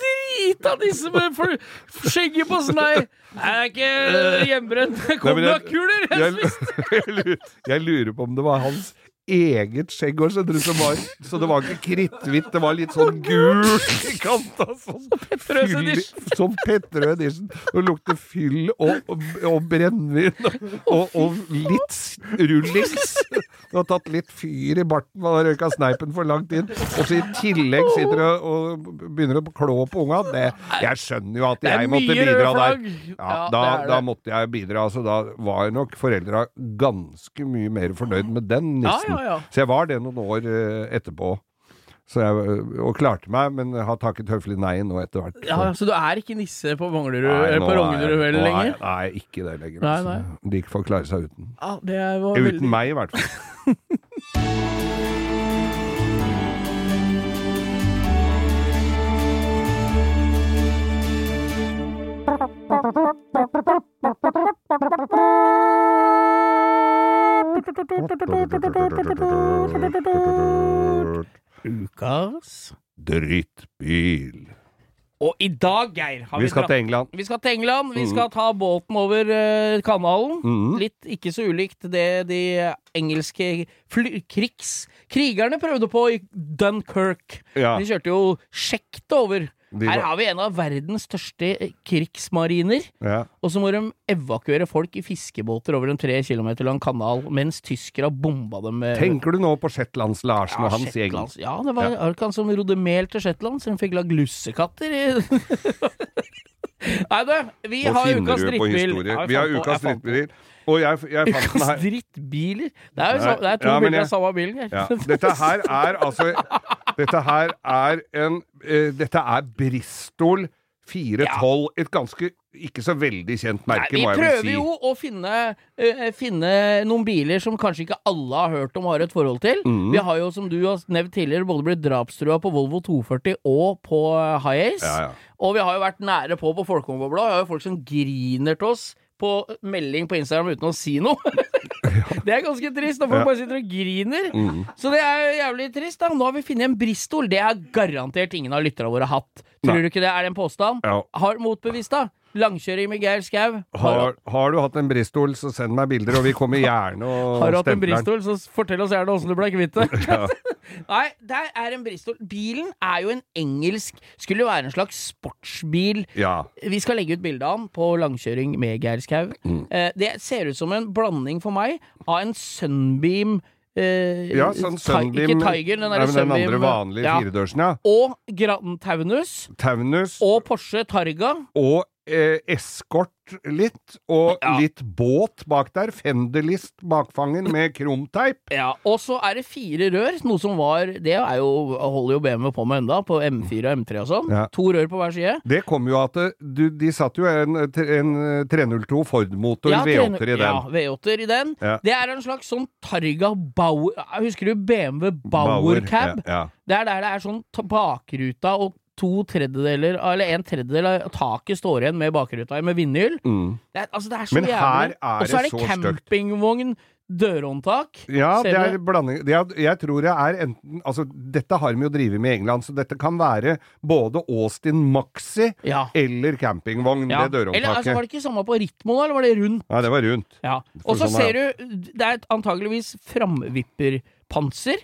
Speaker 3: Drita disse med for- skjegget på snei! Jeg er ikke hjemmebrent.
Speaker 2: Nei,
Speaker 3: Kom,
Speaker 2: men
Speaker 3: du har
Speaker 2: jeg-
Speaker 3: kuler! Eh, Jeg
Speaker 2: jeg, jeg, lurer, jeg lurer på om det var hans eget skjegg også, skjønner du, som var Så det var ikke kritthvitt, det var litt sånn gult i kanta. Sånn
Speaker 3: Petter Øes
Speaker 2: fyll-
Speaker 3: edition.
Speaker 2: Som Petterøe Edition. Og lukter fyll og, og, og brennevin. Og, og litt s- rullings. Du har tatt litt fyr i barten, man har røyka sneipen for langt inn. Og så i tillegg sitter du og og begynner å klå på unga. Det, jeg skjønner jo at
Speaker 3: er
Speaker 2: jeg måtte
Speaker 3: mye røde
Speaker 2: bidra der.
Speaker 3: flagg.
Speaker 2: Ja,
Speaker 3: Ja,
Speaker 2: da,
Speaker 3: det
Speaker 2: da
Speaker 3: er det.
Speaker 2: måtte jeg bidra. Altså, da var nok foreldra ganske mye mer fornøyd med den nissen.
Speaker 3: Ja, ja, ja.
Speaker 2: Så jeg var det noen år eh, etterpå. Så jeg, eh, og klarte meg, men har takket høflig nei nå etter hvert.
Speaker 3: Ja, ja, så du er ikke nisse på Manglerud,
Speaker 2: Nei,
Speaker 3: eller
Speaker 2: nå
Speaker 3: på
Speaker 2: er-
Speaker 3: Rognerud vel
Speaker 2: nå er-
Speaker 3: lenger?
Speaker 2: Nei, ikke det lenger.
Speaker 3: Nei,
Speaker 2: altså. De får klare seg uten.
Speaker 3: Ja, det var veldig...
Speaker 2: Uten meg, i hvert fall.
Speaker 3: Ukas.
Speaker 2: Drittbil.
Speaker 3: Og i dag, Geir, har vi,
Speaker 2: Vi skal
Speaker 3: dratt-
Speaker 2: til Mm. England.
Speaker 3: vi skal til England. Vi skal ta båten over eh, kanalen.
Speaker 2: Mhm.
Speaker 3: Litt ikke så ulikt det de engelske fly krigs... Krigerne prøvde på i Dunkerque.
Speaker 2: Ja.
Speaker 3: De kjørte jo sjekt over.
Speaker 2: De
Speaker 3: Her
Speaker 2: var-
Speaker 3: har vi en av verdens største eh, krigsmariner.
Speaker 2: Ja.
Speaker 3: Og så må de evakuere folk i fiskebåter over en tre kilometer lang kanal mens tyskere bomba dem eh, med
Speaker 2: Tenker du nå på Shetlands-Larsen og hans gjeng?
Speaker 3: Shetlands. Ja, det var var det ikke han som rodde mel til Shetland, så hun fikk lagd lussekatter i Nei, du, vi
Speaker 2: Nå
Speaker 3: har
Speaker 2: finner
Speaker 3: ukas
Speaker 2: du på
Speaker 3: drittbil.
Speaker 2: historier.
Speaker 3: Ja, jeg
Speaker 2: Vi har
Speaker 3: fant på-
Speaker 2: ukas
Speaker 3: jeg fant på-
Speaker 2: drittbiler. Og jeg, jeg fant den
Speaker 3: Ukas
Speaker 2: her.
Speaker 3: drittbiler? Det er jo
Speaker 2: Nei,
Speaker 3: så, det er to
Speaker 2: ja, men
Speaker 3: bilder av
Speaker 2: jeg-
Speaker 3: samme bilen.
Speaker 2: Ja. Dette her er altså Dette her er en eh, Dette er Bristol 412. Et ganske ikke så veldig kjent merke, må
Speaker 3: Nei, vi
Speaker 2: jeg vel
Speaker 3: prøver
Speaker 2: si.
Speaker 3: jo å finne, eh, finne noen biler som kanskje ikke alle har hørt om og har et forhold til.
Speaker 2: Mhm.
Speaker 3: Vi har jo, som du har nevnt tidligere, både blitt drapstrua på Volvo 240 og på eh, High Ace.
Speaker 2: Ja, ja.
Speaker 3: Og vi har jo vært nære på på Folkehåndbobla. Vi har jo folk som griner til oss på melding på Instagram uten å si noe. det er ganske trist når folk bare sitter og griner.
Speaker 2: Mhm.
Speaker 3: Så det er jo jævlig trist. da Nå har vi funnet en Bristol. Det har garantert ingen av lytterne våre hatt. Tror
Speaker 2: Nei.
Speaker 3: du ikke det er det en påstand?
Speaker 2: Ja.
Speaker 3: Har motbevist, da. Langkjøring med Geir Skau.
Speaker 2: Har, har du hatt en Bristol, så send meg bilder, og vi kommer gjerne og
Speaker 3: Har du hatt en
Speaker 2: stempler den.
Speaker 3: Bristol, så fortell oss gjerne åssen du ble kvitt det. Nei, der er en Bristol. Bilen er jo en engelsk Skulle jo være en slags sportsbil.
Speaker 2: Ja.
Speaker 3: Vi skal legge ut bilde av den på langkjøring med Geir Skau.
Speaker 2: Mm.
Speaker 3: Eh, det ser ut som en blanding for meg av en Sunbeam eh,
Speaker 2: ja, sånn
Speaker 3: Ti-
Speaker 2: Sunbeam
Speaker 3: Ikke Tiger, den
Speaker 2: Nei,
Speaker 3: derre
Speaker 2: men
Speaker 3: Sunbeam.
Speaker 2: andre vanlige
Speaker 3: ja.
Speaker 2: firedørsen, ja.
Speaker 3: Og Grand Taunus.
Speaker 2: Taunus
Speaker 3: Og Porsche Targa.
Speaker 2: og eh, eskort litt, og
Speaker 3: Ja.
Speaker 2: litt båt bak der. Fenderlist bakfangen med krumteip.
Speaker 3: Ja, og så er det fire rør, noe som var Det er jo, holder jo BMW på med enda, på M4 og M3 og sånn.
Speaker 2: Ja.
Speaker 3: To rør på hver side.
Speaker 2: Det kom jo at eh, du, de satt jo en, eh, en 302 Ford-motor V8 i den.
Speaker 3: Ja, V8-er i den.
Speaker 2: Ja.
Speaker 3: Det er en slags sånn Targa Bauer Husker du BMW Bauer, Cab?
Speaker 2: Ja,
Speaker 3: Det er der det er sånn ta- bakruta og to tredjedeler, eller en tredjedel av taket står igjen med bakruta med vindhyll.
Speaker 2: ja. Mm.
Speaker 3: Det er, altså, det er så
Speaker 2: Men her
Speaker 3: jævlig.
Speaker 2: er
Speaker 3: Og så er
Speaker 2: det
Speaker 3: det
Speaker 2: så støkt.
Speaker 3: campingvogn dørhåndtak.
Speaker 2: Ja,
Speaker 3: Ser
Speaker 2: det
Speaker 3: du
Speaker 2: er blanding det er, Jeg tror det er enten Altså, dette har de jo drevet med i England, så dette kan være både Austin Maxi
Speaker 3: Ja.
Speaker 2: eller campingvogn,
Speaker 3: ja.
Speaker 2: det
Speaker 3: Eller altså,
Speaker 2: dørhåndtaket.
Speaker 3: var det ikke samme på Ritmo, da? Eller var det rundt?
Speaker 2: Nei, det var rundt.
Speaker 3: Ja.
Speaker 2: For
Speaker 3: Og så
Speaker 2: sånn er
Speaker 3: ser du Det er et antageligvis framvipperpanser.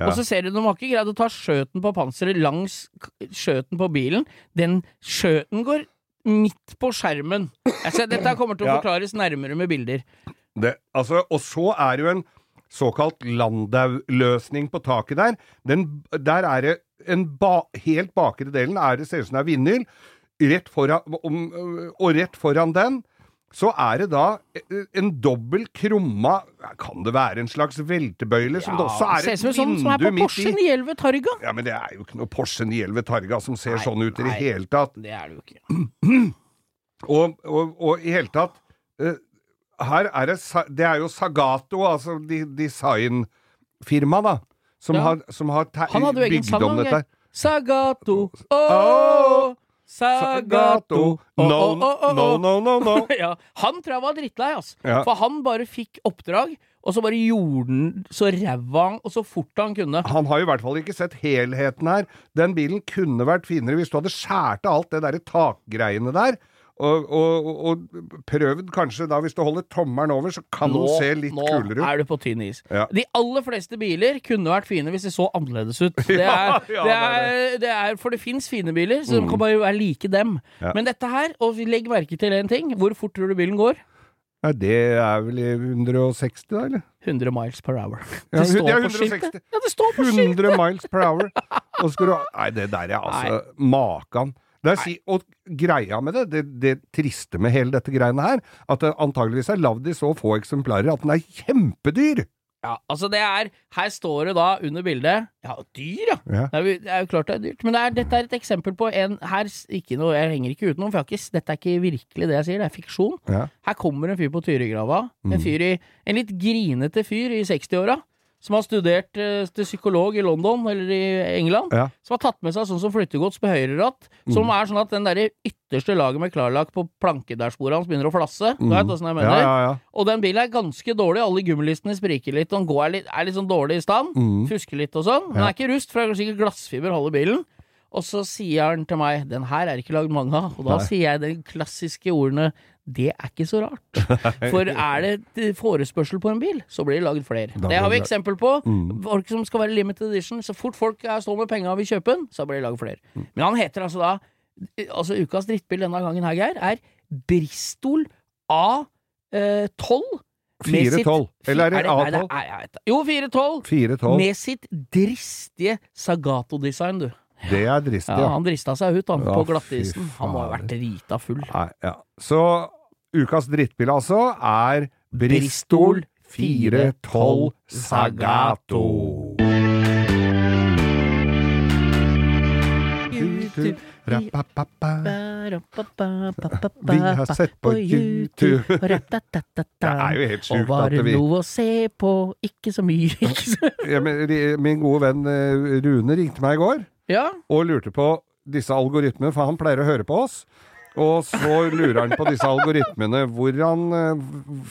Speaker 2: Ja.
Speaker 3: Og så ser du de har ikke greid å ta skjøten på panseret langs k- skjøten på bilen. Den skjøten går midt på skjermen. Altså, dette kommer til å
Speaker 2: Ja.
Speaker 3: forklares nærmere med bilder.
Speaker 2: Det, altså, og så er det jo en såkalt Landau-løsning på taket der. Den, der er det en ba, helt bakre delen er det ser ut som det er vinyl, rett foran, om, og rett foran den så er det da eh, en dobbel krumma Kan det være en slags veltebøyle? som det også er
Speaker 3: ser
Speaker 2: et
Speaker 3: ut som en sånn som er på
Speaker 2: vindu midt i?
Speaker 3: Porschen i Elvetarga.
Speaker 2: Ja, men det er jo ikke noe Porsche 911 Targa som ser
Speaker 3: Nei,
Speaker 2: sånn ut i det
Speaker 3: nei.
Speaker 2: hele tatt.
Speaker 3: Det er det jo ikke.
Speaker 2: Og, og, og i hele tatt eh, Her er det sa- Det er jo Sagato, altså de, designfirma, da, som
Speaker 3: Ja.
Speaker 2: har, som har te-
Speaker 3: Han hadde jo egen
Speaker 2: bygd
Speaker 3: sang.
Speaker 2: om
Speaker 3: han,
Speaker 2: dette.
Speaker 3: jeg. Sagato,
Speaker 2: Åh,
Speaker 3: åh, eh, Sagato, åh,
Speaker 2: No,
Speaker 3: åh, åh, åh,
Speaker 2: no,
Speaker 3: åh.
Speaker 2: no, no, no.
Speaker 3: ja, han tror jeg var drittlei, ass.
Speaker 2: Ja.
Speaker 3: For han bare fikk oppdrag, og så bare gjorde han så ræva han, og så fort han kunne.
Speaker 2: Han har jo i hvert fall ikke sett helheten her. Den bilen kunne vært finere hvis du hadde skåret av alt det derre takgreiene der. Og, og, og- og prøvd kanskje da, hvis du holder tommelen over, så kan den se litt
Speaker 3: nå
Speaker 2: kulere ut.
Speaker 3: er du på tynn is.
Speaker 2: Ja.
Speaker 3: De aller fleste biler kunne vært fine hvis de så annerledes ut. Det er,
Speaker 2: Ja, ja,
Speaker 3: det er, det er, for det fins fine biler, så de kan bare være like dem.
Speaker 2: Mm. Ja.
Speaker 3: Men dette her, og vi legg merke til én ting, hvor fort tror du bilen går?
Speaker 2: Nei, det er vel i 160, da, eller?
Speaker 3: 100 miles per hour.
Speaker 2: Ja, hun- ja,
Speaker 3: på
Speaker 2: 160.
Speaker 3: skiltet. Ja, det står på skiltet!
Speaker 2: 100 miles per hour. Og skal du ha Nei, det der er altså Makan. Det er si, og greia med det, det, det triste med hele dette greiene her, at det antageligvis er lagd i så få eksemplarer at den er kjempedyr!
Speaker 3: Ja, altså det er Her står det da under bildet Ja, dyr, ja!
Speaker 2: Ja.
Speaker 3: Det er, jo- det er jo klart det er dyrt. Men det er, dette er et eksempel på en her, s- ikke noe, Jeg henger ikke ut noen, for jeg har ikke, s- dette er ikke virkelig det jeg sier, det er fiksjon.
Speaker 2: Ja.
Speaker 3: Her kommer en fyr på Tyrigrava. En,
Speaker 2: Mm.
Speaker 3: fyr i, en litt grinete fyr i 60-åra. Som har studert eh, til psykolog i London eller i England.
Speaker 2: Ja. Mm.
Speaker 3: Som har tatt med seg sånn som flyttegods på høyre ratt. Som er sånn at den derre ytterste laget med klarlakk på plankedærsporet hans begynner å flasse. Du vet åssen jeg mener?
Speaker 2: Mm. Ja, ja, ja.
Speaker 3: Og den bilen er ganske dårlig, alle gummilistene spriker litt, og den går er litt, er litt sånn dårlig i stand,
Speaker 2: Mm.
Speaker 3: fusker litt og sånn. Den er ikke rust, for det er sikkert glassfiber holder bilen. Og så sier han til meg, den her er ikke lagd mange av, og da
Speaker 2: Nei.
Speaker 3: sier jeg de klassiske ordene, det er ikke så rart. For er det et eh, forespørsel på en bil, så blir det lagd flere.
Speaker 2: Da
Speaker 3: Det har
Speaker 2: blir
Speaker 3: vi
Speaker 2: det- Mm.
Speaker 3: eksempel på. Folk som skal være limited edition, så fort folk er- står med penga og vil kjøpe den, så blir det lagd flere.
Speaker 2: Mm.
Speaker 3: Men han heter altså da, altså ukas drittbil denne gangen her, Geir, er Bristol A12. med sitt-
Speaker 2: 412. Eller er det
Speaker 3: nei,
Speaker 2: A12?
Speaker 3: er- jeg vet det. Jo, 412.
Speaker 2: 412.
Speaker 3: Med sitt dristige Sagato-design, du.
Speaker 2: Det er dristig,
Speaker 3: Ja,
Speaker 2: ja.
Speaker 3: han drista seg ut, han,
Speaker 2: Ja,
Speaker 3: på
Speaker 2: fy
Speaker 3: glattisen. Han må ha vært drita full.
Speaker 2: Nei, ja. Så ukas drittbil, altså, er Bristol 412 Sagato. Ra-pa-pa-pa.
Speaker 3: Vi
Speaker 2: Vi har sett på YouTube. Det er jo helt
Speaker 3: Og
Speaker 2: sjukt
Speaker 3: var
Speaker 2: at
Speaker 3: det
Speaker 2: vi
Speaker 3: noe å se på? Ikke så mye, ikke så
Speaker 2: ja, men, ri- Min gode venn eh, Rune ringte meg i går
Speaker 3: Ja,
Speaker 2: og lurte på disse algoritmene, for han pleier å høre på oss. Og så lurer han på disse algoritmene. Hvordan eh,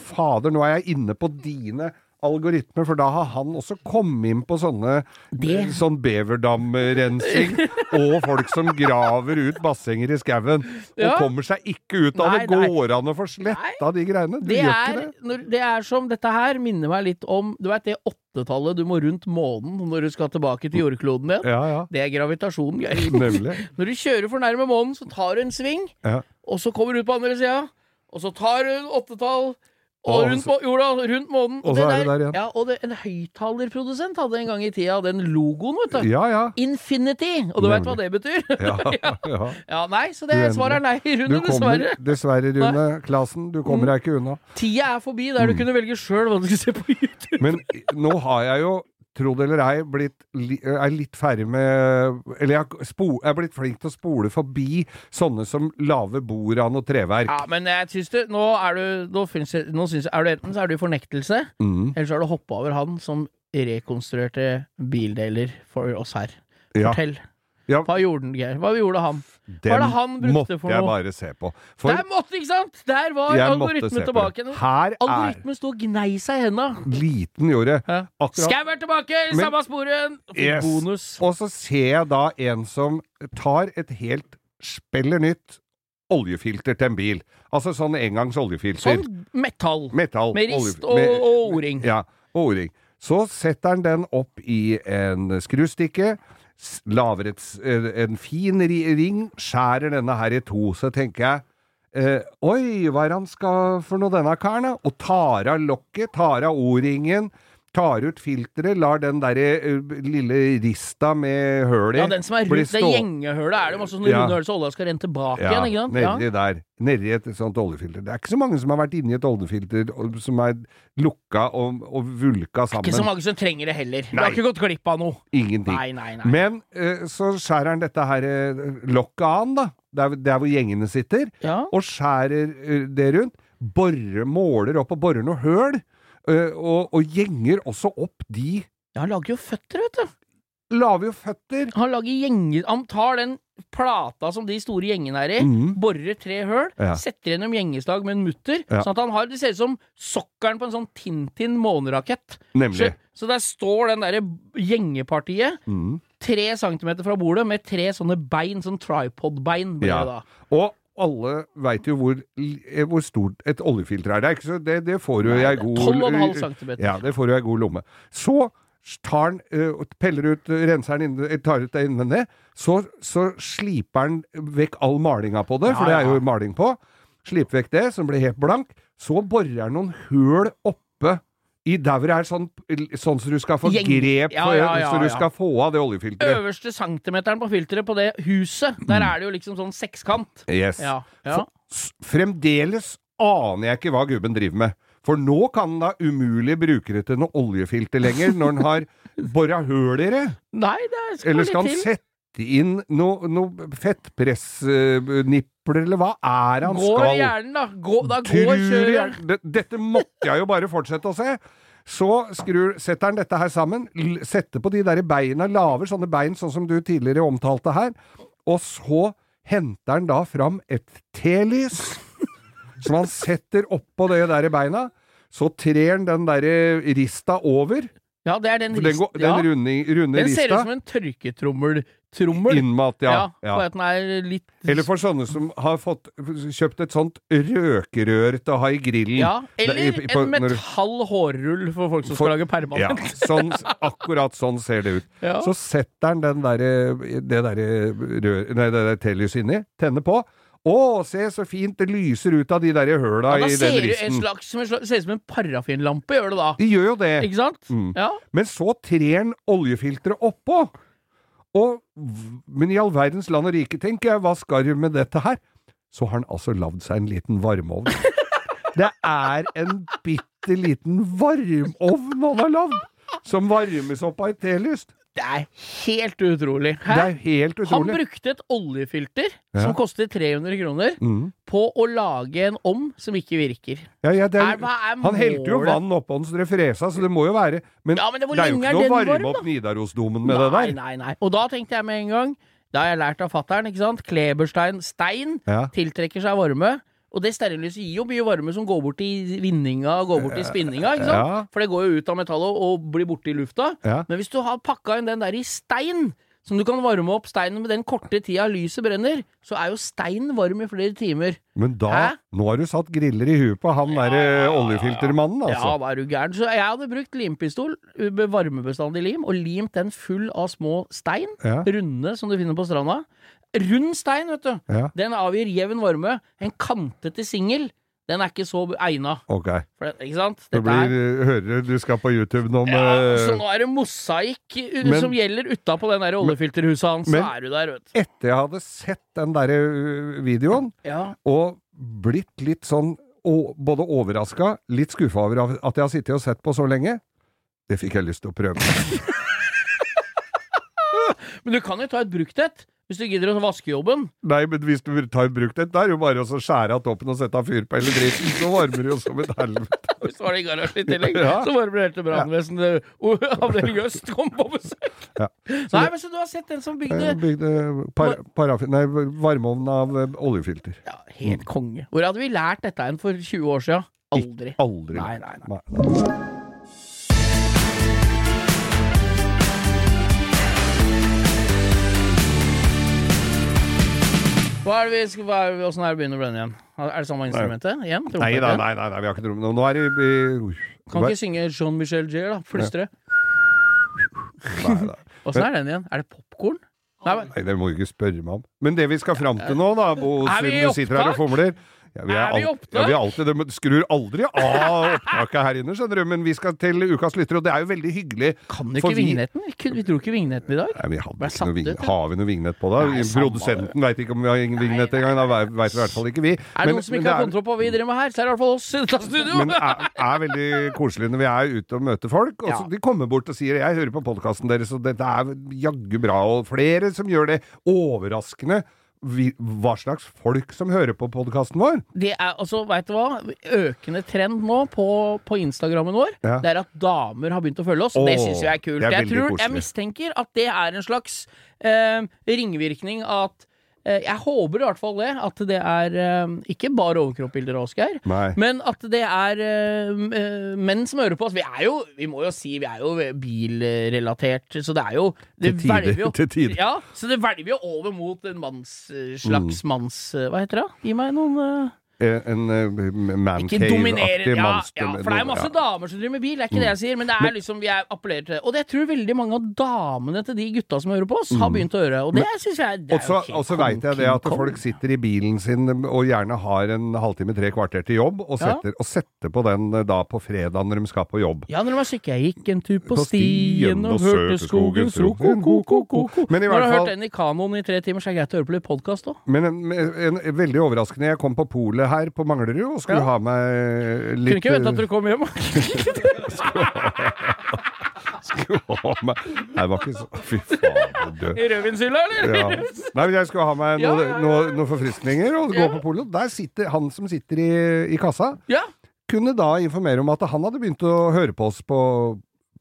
Speaker 2: Fader, nå er jeg inne på dine algoritmer, for da har han også kommet inn på sånne
Speaker 3: Det-
Speaker 2: Sånn beverdamrensing og folk som graver ut bassenger i skauen. Og
Speaker 3: Ja.
Speaker 2: kommer seg ikke ut av
Speaker 3: Nei,
Speaker 2: det.
Speaker 3: nei.
Speaker 2: Går an å få sletta de greiene? Du
Speaker 3: det
Speaker 2: gjør
Speaker 3: er,
Speaker 2: ikke det?
Speaker 3: når, det er som Dette her minner meg litt om Du vet det åttetallet du må rundt månen når du skal tilbake til jordkloden igjen?
Speaker 2: Ja, ja.
Speaker 3: Det er gravitasjonen, Geir.
Speaker 2: Nemlig.
Speaker 3: Når du kjører for nærme månen, så tar du en sving,
Speaker 2: Ja.
Speaker 3: og så kommer du ut på andre sida, og så tar du en åttetall, og
Speaker 2: Og
Speaker 3: rundt,
Speaker 2: så-
Speaker 3: må- jorda, rundt månen
Speaker 2: Og så er du der igjen.
Speaker 3: Ja, og det, en høyttalerprodusent hadde en gang i tida den logoen, vet du.
Speaker 2: Ja, ja.
Speaker 3: Infinity! Og du veit hva det betyr?
Speaker 2: ja, ja.
Speaker 3: Ja, nei, så det
Speaker 2: Uendelig.
Speaker 3: svaret er nei,
Speaker 2: Du
Speaker 3: Rune,
Speaker 2: kommer,
Speaker 3: dessverre. Mm.
Speaker 2: dessverre, Rune Klasen, du kommer deg ikke unna.
Speaker 3: Tida er forbi
Speaker 2: Mm.
Speaker 3: der du kunne velge sjøl hva du skulle se på YouTube.
Speaker 2: Men i- nå har jeg jo, tro det eller ei, blitt li- er litt ferdig med Eller jeg har spo- jeg er blitt flink til å spole forbi sånne som laver bord av noe treverk.
Speaker 3: Ja, men jeg syns du Nå er du nå finnes, det- nå syns, jeg- er du Enten så er du i fornektelse,
Speaker 2: Mm.
Speaker 3: eller så har du hoppa over han som rekonstruerte bildeler for oss her.
Speaker 2: Ja.
Speaker 3: Fortell.
Speaker 2: Ja.
Speaker 3: Hva gjorde den, Geir? Hva gjorde han? Hva er det han brukte
Speaker 2: måtte
Speaker 3: for
Speaker 2: jeg
Speaker 3: noe?
Speaker 2: bare se på. For
Speaker 3: Der måtte, ikke sant? Der var
Speaker 2: jeg måtte se
Speaker 3: algoritmen
Speaker 2: på
Speaker 3: tilbake.
Speaker 2: det. Her er
Speaker 3: Algoritmen sto og gnei seg i henda.
Speaker 2: liten jordet.
Speaker 3: Ja.
Speaker 2: Akkurat
Speaker 3: Skau er tilbake! i
Speaker 2: Men-
Speaker 3: Samme sporet!
Speaker 2: Yes.
Speaker 3: Bonus.
Speaker 2: Og så ser jeg da en som tar et helt speller nytt oljefilter til en bil. Altså sånn engangs oljefilter.
Speaker 3: Sånn metall.
Speaker 2: Metall.
Speaker 3: Med rist
Speaker 2: olje- med-
Speaker 3: og, og o-ring.
Speaker 2: Ja, og o-ring. Så setter han den opp i en skrustikke, s- lager et, s- en fin ri- ring, skjærer denne her i to. Så tenker jeg eh, Oi, hva er det han skal for noe, denne karen? da? Og tar av lokket, tar av o-ringen, tar ut filteret, lar den derre eh, lille rista med høl i
Speaker 3: Ja, den som er
Speaker 2: bli
Speaker 3: rundt det
Speaker 2: stå-
Speaker 3: gjengehølet, er det masse sånne
Speaker 2: Ja.
Speaker 3: runde hull, så olja skal renne tilbake
Speaker 2: ja,
Speaker 3: igjen, ikke sant? Ja.
Speaker 2: nedi der. Nedi et sånt oljefilter. Det er ikke så mange som har vært inni et oljefilter og, som er lukka og, og vulka sammen.
Speaker 3: Ikke så mange som trenger det heller. Du
Speaker 2: Nei.
Speaker 3: har ikke gått glipp av noe.
Speaker 2: Ingenting.
Speaker 3: Nei, nei, nei.
Speaker 2: Men eh, så skjærer han dette her eh, lokket an, da. Der, der hvor gjengene sitter.
Speaker 3: Ja.
Speaker 2: Og skjærer eh, det rundt. Borer, måler opp og borer noe høl. eh, og, og gjenger også opp de
Speaker 3: Ja, han lager jo føtter, vet du.
Speaker 2: Lager jo føtter.
Speaker 3: Han lager gjenger Han tar den plata som de store gjengene er i,
Speaker 2: Mhm.
Speaker 3: borer tre høl,
Speaker 2: Ja.
Speaker 3: setter gjennom gjengeslag med en mutter,
Speaker 2: Ja.
Speaker 3: sånn at han har Det ser ut som sokkelen på en sånn Tintin månerakett. Så,
Speaker 2: Nemlig.
Speaker 3: så der står den derre gjengepartiet
Speaker 2: Mhm.
Speaker 3: tre centimeter fra bordet med tre sånne bein, sånn tripod-bein. blir
Speaker 2: Ja.
Speaker 3: det da.
Speaker 2: Og alle veit jo hvor, l- eh, hvor stort et oljefilter er. Det, er ikke så, det, det får jo
Speaker 3: Nei,
Speaker 2: jeg
Speaker 3: det er
Speaker 2: god
Speaker 3: 12,5 centimeter.
Speaker 2: Ja, det får jo ei god lomme. Så tar han, eh, og peller ut eh, renseren innen, eh, tar ut det innvendig, så, så sliper han vekk all malinga på det,
Speaker 3: Ja,
Speaker 2: for det er
Speaker 3: ja.
Speaker 2: jo maling på. Sliper vekk det, som blir helt blank. Så borer han noen høl oppe i der hvor det er sånn, sånn så du skal få
Speaker 3: Gjeng-
Speaker 2: grep,
Speaker 3: Ja, ja, ja,
Speaker 2: så du
Speaker 3: ja.
Speaker 2: skal få av det oljefilteret.
Speaker 3: Øverste centimeteren på filteret på det huset, der
Speaker 2: Mm.
Speaker 3: er det jo liksom sånn sekskant.
Speaker 2: Yes.
Speaker 3: Ja, ja.
Speaker 2: S- Fremdeles aner jeg ikke hva gubben driver med. For nå kan han da umulig bruke det til noe oljefilter lenger, når han har bora høl i det.
Speaker 3: Nei, det er- skal
Speaker 2: Eller skal han
Speaker 3: litt til.
Speaker 2: sette inn noe no fettpressnipler, eller hva er det han
Speaker 3: Går
Speaker 2: skal?
Speaker 3: hjernen, da. Gå, da går
Speaker 2: Tror jeg,
Speaker 3: kjøret.
Speaker 2: det- dette måtte jeg jo bare fortsette å se. Så skrur, setter han dette her sammen, l- setter på de der beina, laver sånne bein sånn som du tidligere omtalte her, og så henter han da fram et telys som han setter oppå det der beina. Så trer han den der rista over.
Speaker 3: Ja, det er den
Speaker 2: for Den,
Speaker 3: risten.
Speaker 2: går, den
Speaker 3: ja.
Speaker 2: runde, runde
Speaker 3: den ser ut som
Speaker 2: rista.
Speaker 3: en tørketrommel. Trommel.
Speaker 2: Innmat, ja. ja.
Speaker 3: Bare at den er litt
Speaker 2: Eller for sånne som har fått, kjøpt et sånt røkerør til å ha i grillen.
Speaker 3: ja,
Speaker 2: Det
Speaker 3: eller
Speaker 2: er i- på-
Speaker 3: en
Speaker 2: når du-
Speaker 3: metall hårrull for folk som
Speaker 2: For-
Speaker 3: skal lage
Speaker 2: Ja,
Speaker 3: permanent.
Speaker 2: sånn, akkurat sånn ser det ut.
Speaker 3: Ja.
Speaker 2: Så setter han den derre- det derre rør- nei, det der tellyset inni, tenner på. Å, se så fint det lyser ut av de derre høla
Speaker 3: Ja, da
Speaker 2: i
Speaker 3: ser
Speaker 2: den
Speaker 3: du en
Speaker 2: risten.
Speaker 3: slags, som en slags, ser ut som en parafinlampe, gjør det da.
Speaker 2: De gjør jo det.
Speaker 3: Ikke sant?
Speaker 2: Mm.
Speaker 3: Ja.
Speaker 2: Men så trer han oljefilteret oppå. Og, v- men i all verdens land og rike, tenker jeg, hva skal du med dette her? Så har han altså lagd seg en liten varmeovn. Det er en bitte liten varmeovn han har lagd, som varmes opp av et telys.
Speaker 3: Det er helt utrolig. Hæ?
Speaker 2: Det er helt
Speaker 3: Han
Speaker 2: utrolig.
Speaker 3: brukte et oljefilter
Speaker 2: Ja.
Speaker 3: som koster 300 kroner,
Speaker 2: Mm.
Speaker 3: på å lage en om som ikke virker.
Speaker 2: Ja, ja, det er,
Speaker 3: Er, hva er
Speaker 2: han helte jo
Speaker 3: målet?
Speaker 2: vann oppå den, så det fresa, så det må jo være Men
Speaker 3: Ja, men det- hvor
Speaker 2: det er jo
Speaker 3: lenge
Speaker 2: ikke
Speaker 3: er
Speaker 2: noe å
Speaker 3: den varm,
Speaker 2: varme opp Nidarosdomen med det
Speaker 3: nei,
Speaker 2: der.
Speaker 3: nei, nei. Og da tenkte jeg med en gang Da har jeg lært av fattern, ikke sant. Kleberstein stein
Speaker 2: Ja.
Speaker 3: tiltrekker seg varme. Og det stearinlyset gir jo mye varme som går bort i vinninga og går bort i spinninga, ikke sant?
Speaker 2: Ja.
Speaker 3: For det går jo ut av metallet og blir borte i lufta.
Speaker 2: Ja.
Speaker 3: Men hvis du har pakka inn den der i stein, som du kan varme opp steinen med den korte tida lyset brenner, så er jo stein varm i flere timer.
Speaker 2: Men da
Speaker 3: Hæ?
Speaker 2: Nå har du satt griller i huet på han derre oljefiltermannen, altså.
Speaker 3: Ja, da er du gæren. Så jeg hadde brukt limpistol med varmebestandig lim, og limt den full av små stein,
Speaker 2: Ja.
Speaker 3: runde som du finner på stranda. Rund stein, vet du.
Speaker 2: Ja.
Speaker 3: Den avgir jevn varme. En kantete singel, den er ikke så egna.
Speaker 2: Ok.
Speaker 3: For det, ikke sant?
Speaker 2: Det
Speaker 3: Dette
Speaker 2: blir eh,
Speaker 3: er
Speaker 2: Hører du skal på YouTube nå med
Speaker 3: ja, Så nå er det mosaikk uh,
Speaker 2: Men-
Speaker 3: som gjelder utapå den der oljefilterhuset hans.
Speaker 2: Men-
Speaker 3: så er du der, vet du.
Speaker 2: Etter jeg hadde sett den derre ø, videoen,
Speaker 3: Ja.
Speaker 2: og blitt litt sånn å- både overraska, litt skuffa over av- at jeg har sittet og sett på så lenge, det fikk jeg lyst til å prøve.
Speaker 3: Men du kan jo ta et brukt et. Hvis du gidder å vaske jobben.
Speaker 2: Nei, men hvis du tar i bruk den, da er det jo bare å så skjære av toppen og sette av fyr på hele dritten. Så varmer det jo som et helvete.
Speaker 3: Hvis det var det i garasjen i tillegg,
Speaker 2: Ja.
Speaker 3: så varmer det helt til brannvesenet og Avdeling Øst kom på besøk.
Speaker 2: Ja.
Speaker 3: Nei, men så du har sett den som bygde
Speaker 2: Jeg Bygde par, paraffin... Nei, varmeovn av eh, oljefilter.
Speaker 3: ja, Helt konge. Hvor hadde vi lært dette enn for 20 år siden? Aldri.
Speaker 2: Aldri.
Speaker 3: Nei, nei, nei. Hva er det vi skal, hva er, hvordan er det å begynne å blende igjen? Er det samme instrumentet? Igjen?
Speaker 2: Nei,
Speaker 3: Trompet
Speaker 2: nei,
Speaker 3: igjen?
Speaker 2: nei, nei, nei, vi har ikke drømt Nå er det vi-
Speaker 3: Kan ikke synge Jean-Michel Gier, da. Flystre.
Speaker 2: Nei, nei.
Speaker 3: Åssen er den igjen? Er det popkorn? Nei, men-
Speaker 2: Nei, det må du ikke spørre meg om. Men det vi skal fram til nå, da, Bo,
Speaker 3: Eh, Er vi i
Speaker 2: siden du sitter her og
Speaker 3: opptak?
Speaker 2: fomler ja,
Speaker 3: Er vi i
Speaker 2: alt-
Speaker 3: opptak?
Speaker 2: Ja, vi er alltid, det, men skrur aldri av opptaket her inne, skjønner du. Men vi skal til ukas lytter, og det er jo veldig hyggelig.
Speaker 3: Kan du
Speaker 2: for
Speaker 3: ikke
Speaker 2: vi-
Speaker 3: vignetten? Vi, kunne- vi dro ikke vignetten i dag.
Speaker 2: Nei, vi hadde
Speaker 3: Ble
Speaker 2: ikke noe
Speaker 3: satt
Speaker 2: vignett.
Speaker 3: ut, ja.
Speaker 2: Har vi noe vignett på det?
Speaker 3: Nei, samme
Speaker 2: Produsenten veit ikke om vi har ingen vignett engang. Da veit i hvert fall ikke vi.
Speaker 3: Er det noen som ikke har kontroll på hva vi driver med her, så er det i hvert fall oss i dette studioet.
Speaker 2: men er, er veldig koselig når vi er ute og møter folk. Og så
Speaker 3: Ja.
Speaker 2: De kommer bort og sier 'jeg hører på podkasten deres', og dette er jaggu bra. Og flere som gjør det. Overraskende vi, hva slags folk som hører på podkasten vår.
Speaker 3: Det er altså, vet du hva? Økende trend nå på, på Instagrammen vår.
Speaker 2: Ja.
Speaker 3: Det er at damer har begynt å følge oss.
Speaker 2: Åh,
Speaker 3: det syns jeg er kult.
Speaker 2: det er
Speaker 3: jeg,
Speaker 2: veldig
Speaker 3: tror, jeg
Speaker 2: koselig.
Speaker 3: mistenker at det er en slags eh, ringvirkning av at eh, Jeg håper i hvert fall det. At det er eh, ikke bare overkroppbilder av Oskar.
Speaker 2: Nei.
Speaker 3: Men at det er eh, m- eh, menn som hører på oss. Vi er jo, vi må jo si, vi er jo bilrelatert, så det er jo det
Speaker 2: Til tider,
Speaker 3: hvelver Jo,
Speaker 2: til tider.
Speaker 3: Ja, så det hvelver jo over mot en manns, eh, slags
Speaker 2: Mm.
Speaker 3: manns... eh, Hva heter det? Gi meg noen eh,
Speaker 2: Eh, En eh,
Speaker 3: Ikke dominerende
Speaker 2: mancave-aktig mannsdom-
Speaker 3: ja, ja, for det er jo masse
Speaker 2: ja.
Speaker 3: damer som driver med bil, det er ikke det jeg sier, men det er liksom vi er appellerer til det. Og det tror jeg veldig mange av damene til de gutta som hører på oss, har begynt å høre, og det syns jeg
Speaker 2: Mm.
Speaker 3: det er
Speaker 2: Og så,
Speaker 3: jo helt
Speaker 2: og så
Speaker 3: kong-
Speaker 2: veit jeg det at
Speaker 3: kong-
Speaker 2: folk sitter i bilen sin og gjerne har en halvtime, tre kvarter til jobb, og
Speaker 3: Ja.
Speaker 2: setter, og setter på den eh, da på fredag når de skal på jobb.
Speaker 3: Ja, når det var syk, jeg gikk en tur på, stien og hørte skogens ro ko ko ko ko ko
Speaker 2: Men i
Speaker 3: Når du
Speaker 2: hvert
Speaker 3: har
Speaker 2: fall-
Speaker 3: hørt den i kanoen i tre timer, så er det greit å høre på litt podkast òg.
Speaker 2: Men en, en, en, veldig overraskende, jeg kom på polet her på Manglerud og skulle ha
Speaker 3: Ja.
Speaker 2: meg litt eh,
Speaker 3: Kunne ikke vente at du kom hjem.
Speaker 2: skulle ha eh, meg Nei, det var ikke så Fy faen, du død.
Speaker 3: I rødvinshylla,
Speaker 2: Ja.
Speaker 3: eller?
Speaker 2: Nei, men jeg skulle ha meg
Speaker 3: Ja,
Speaker 2: noe,
Speaker 3: ja, ja.
Speaker 2: noe, noen forfriskninger og gå
Speaker 3: Ja.
Speaker 2: på polet. og Der sitter han som sitter i, i kassa,
Speaker 3: Ja.
Speaker 2: kunne da informere om at han hadde begynt å høre på oss på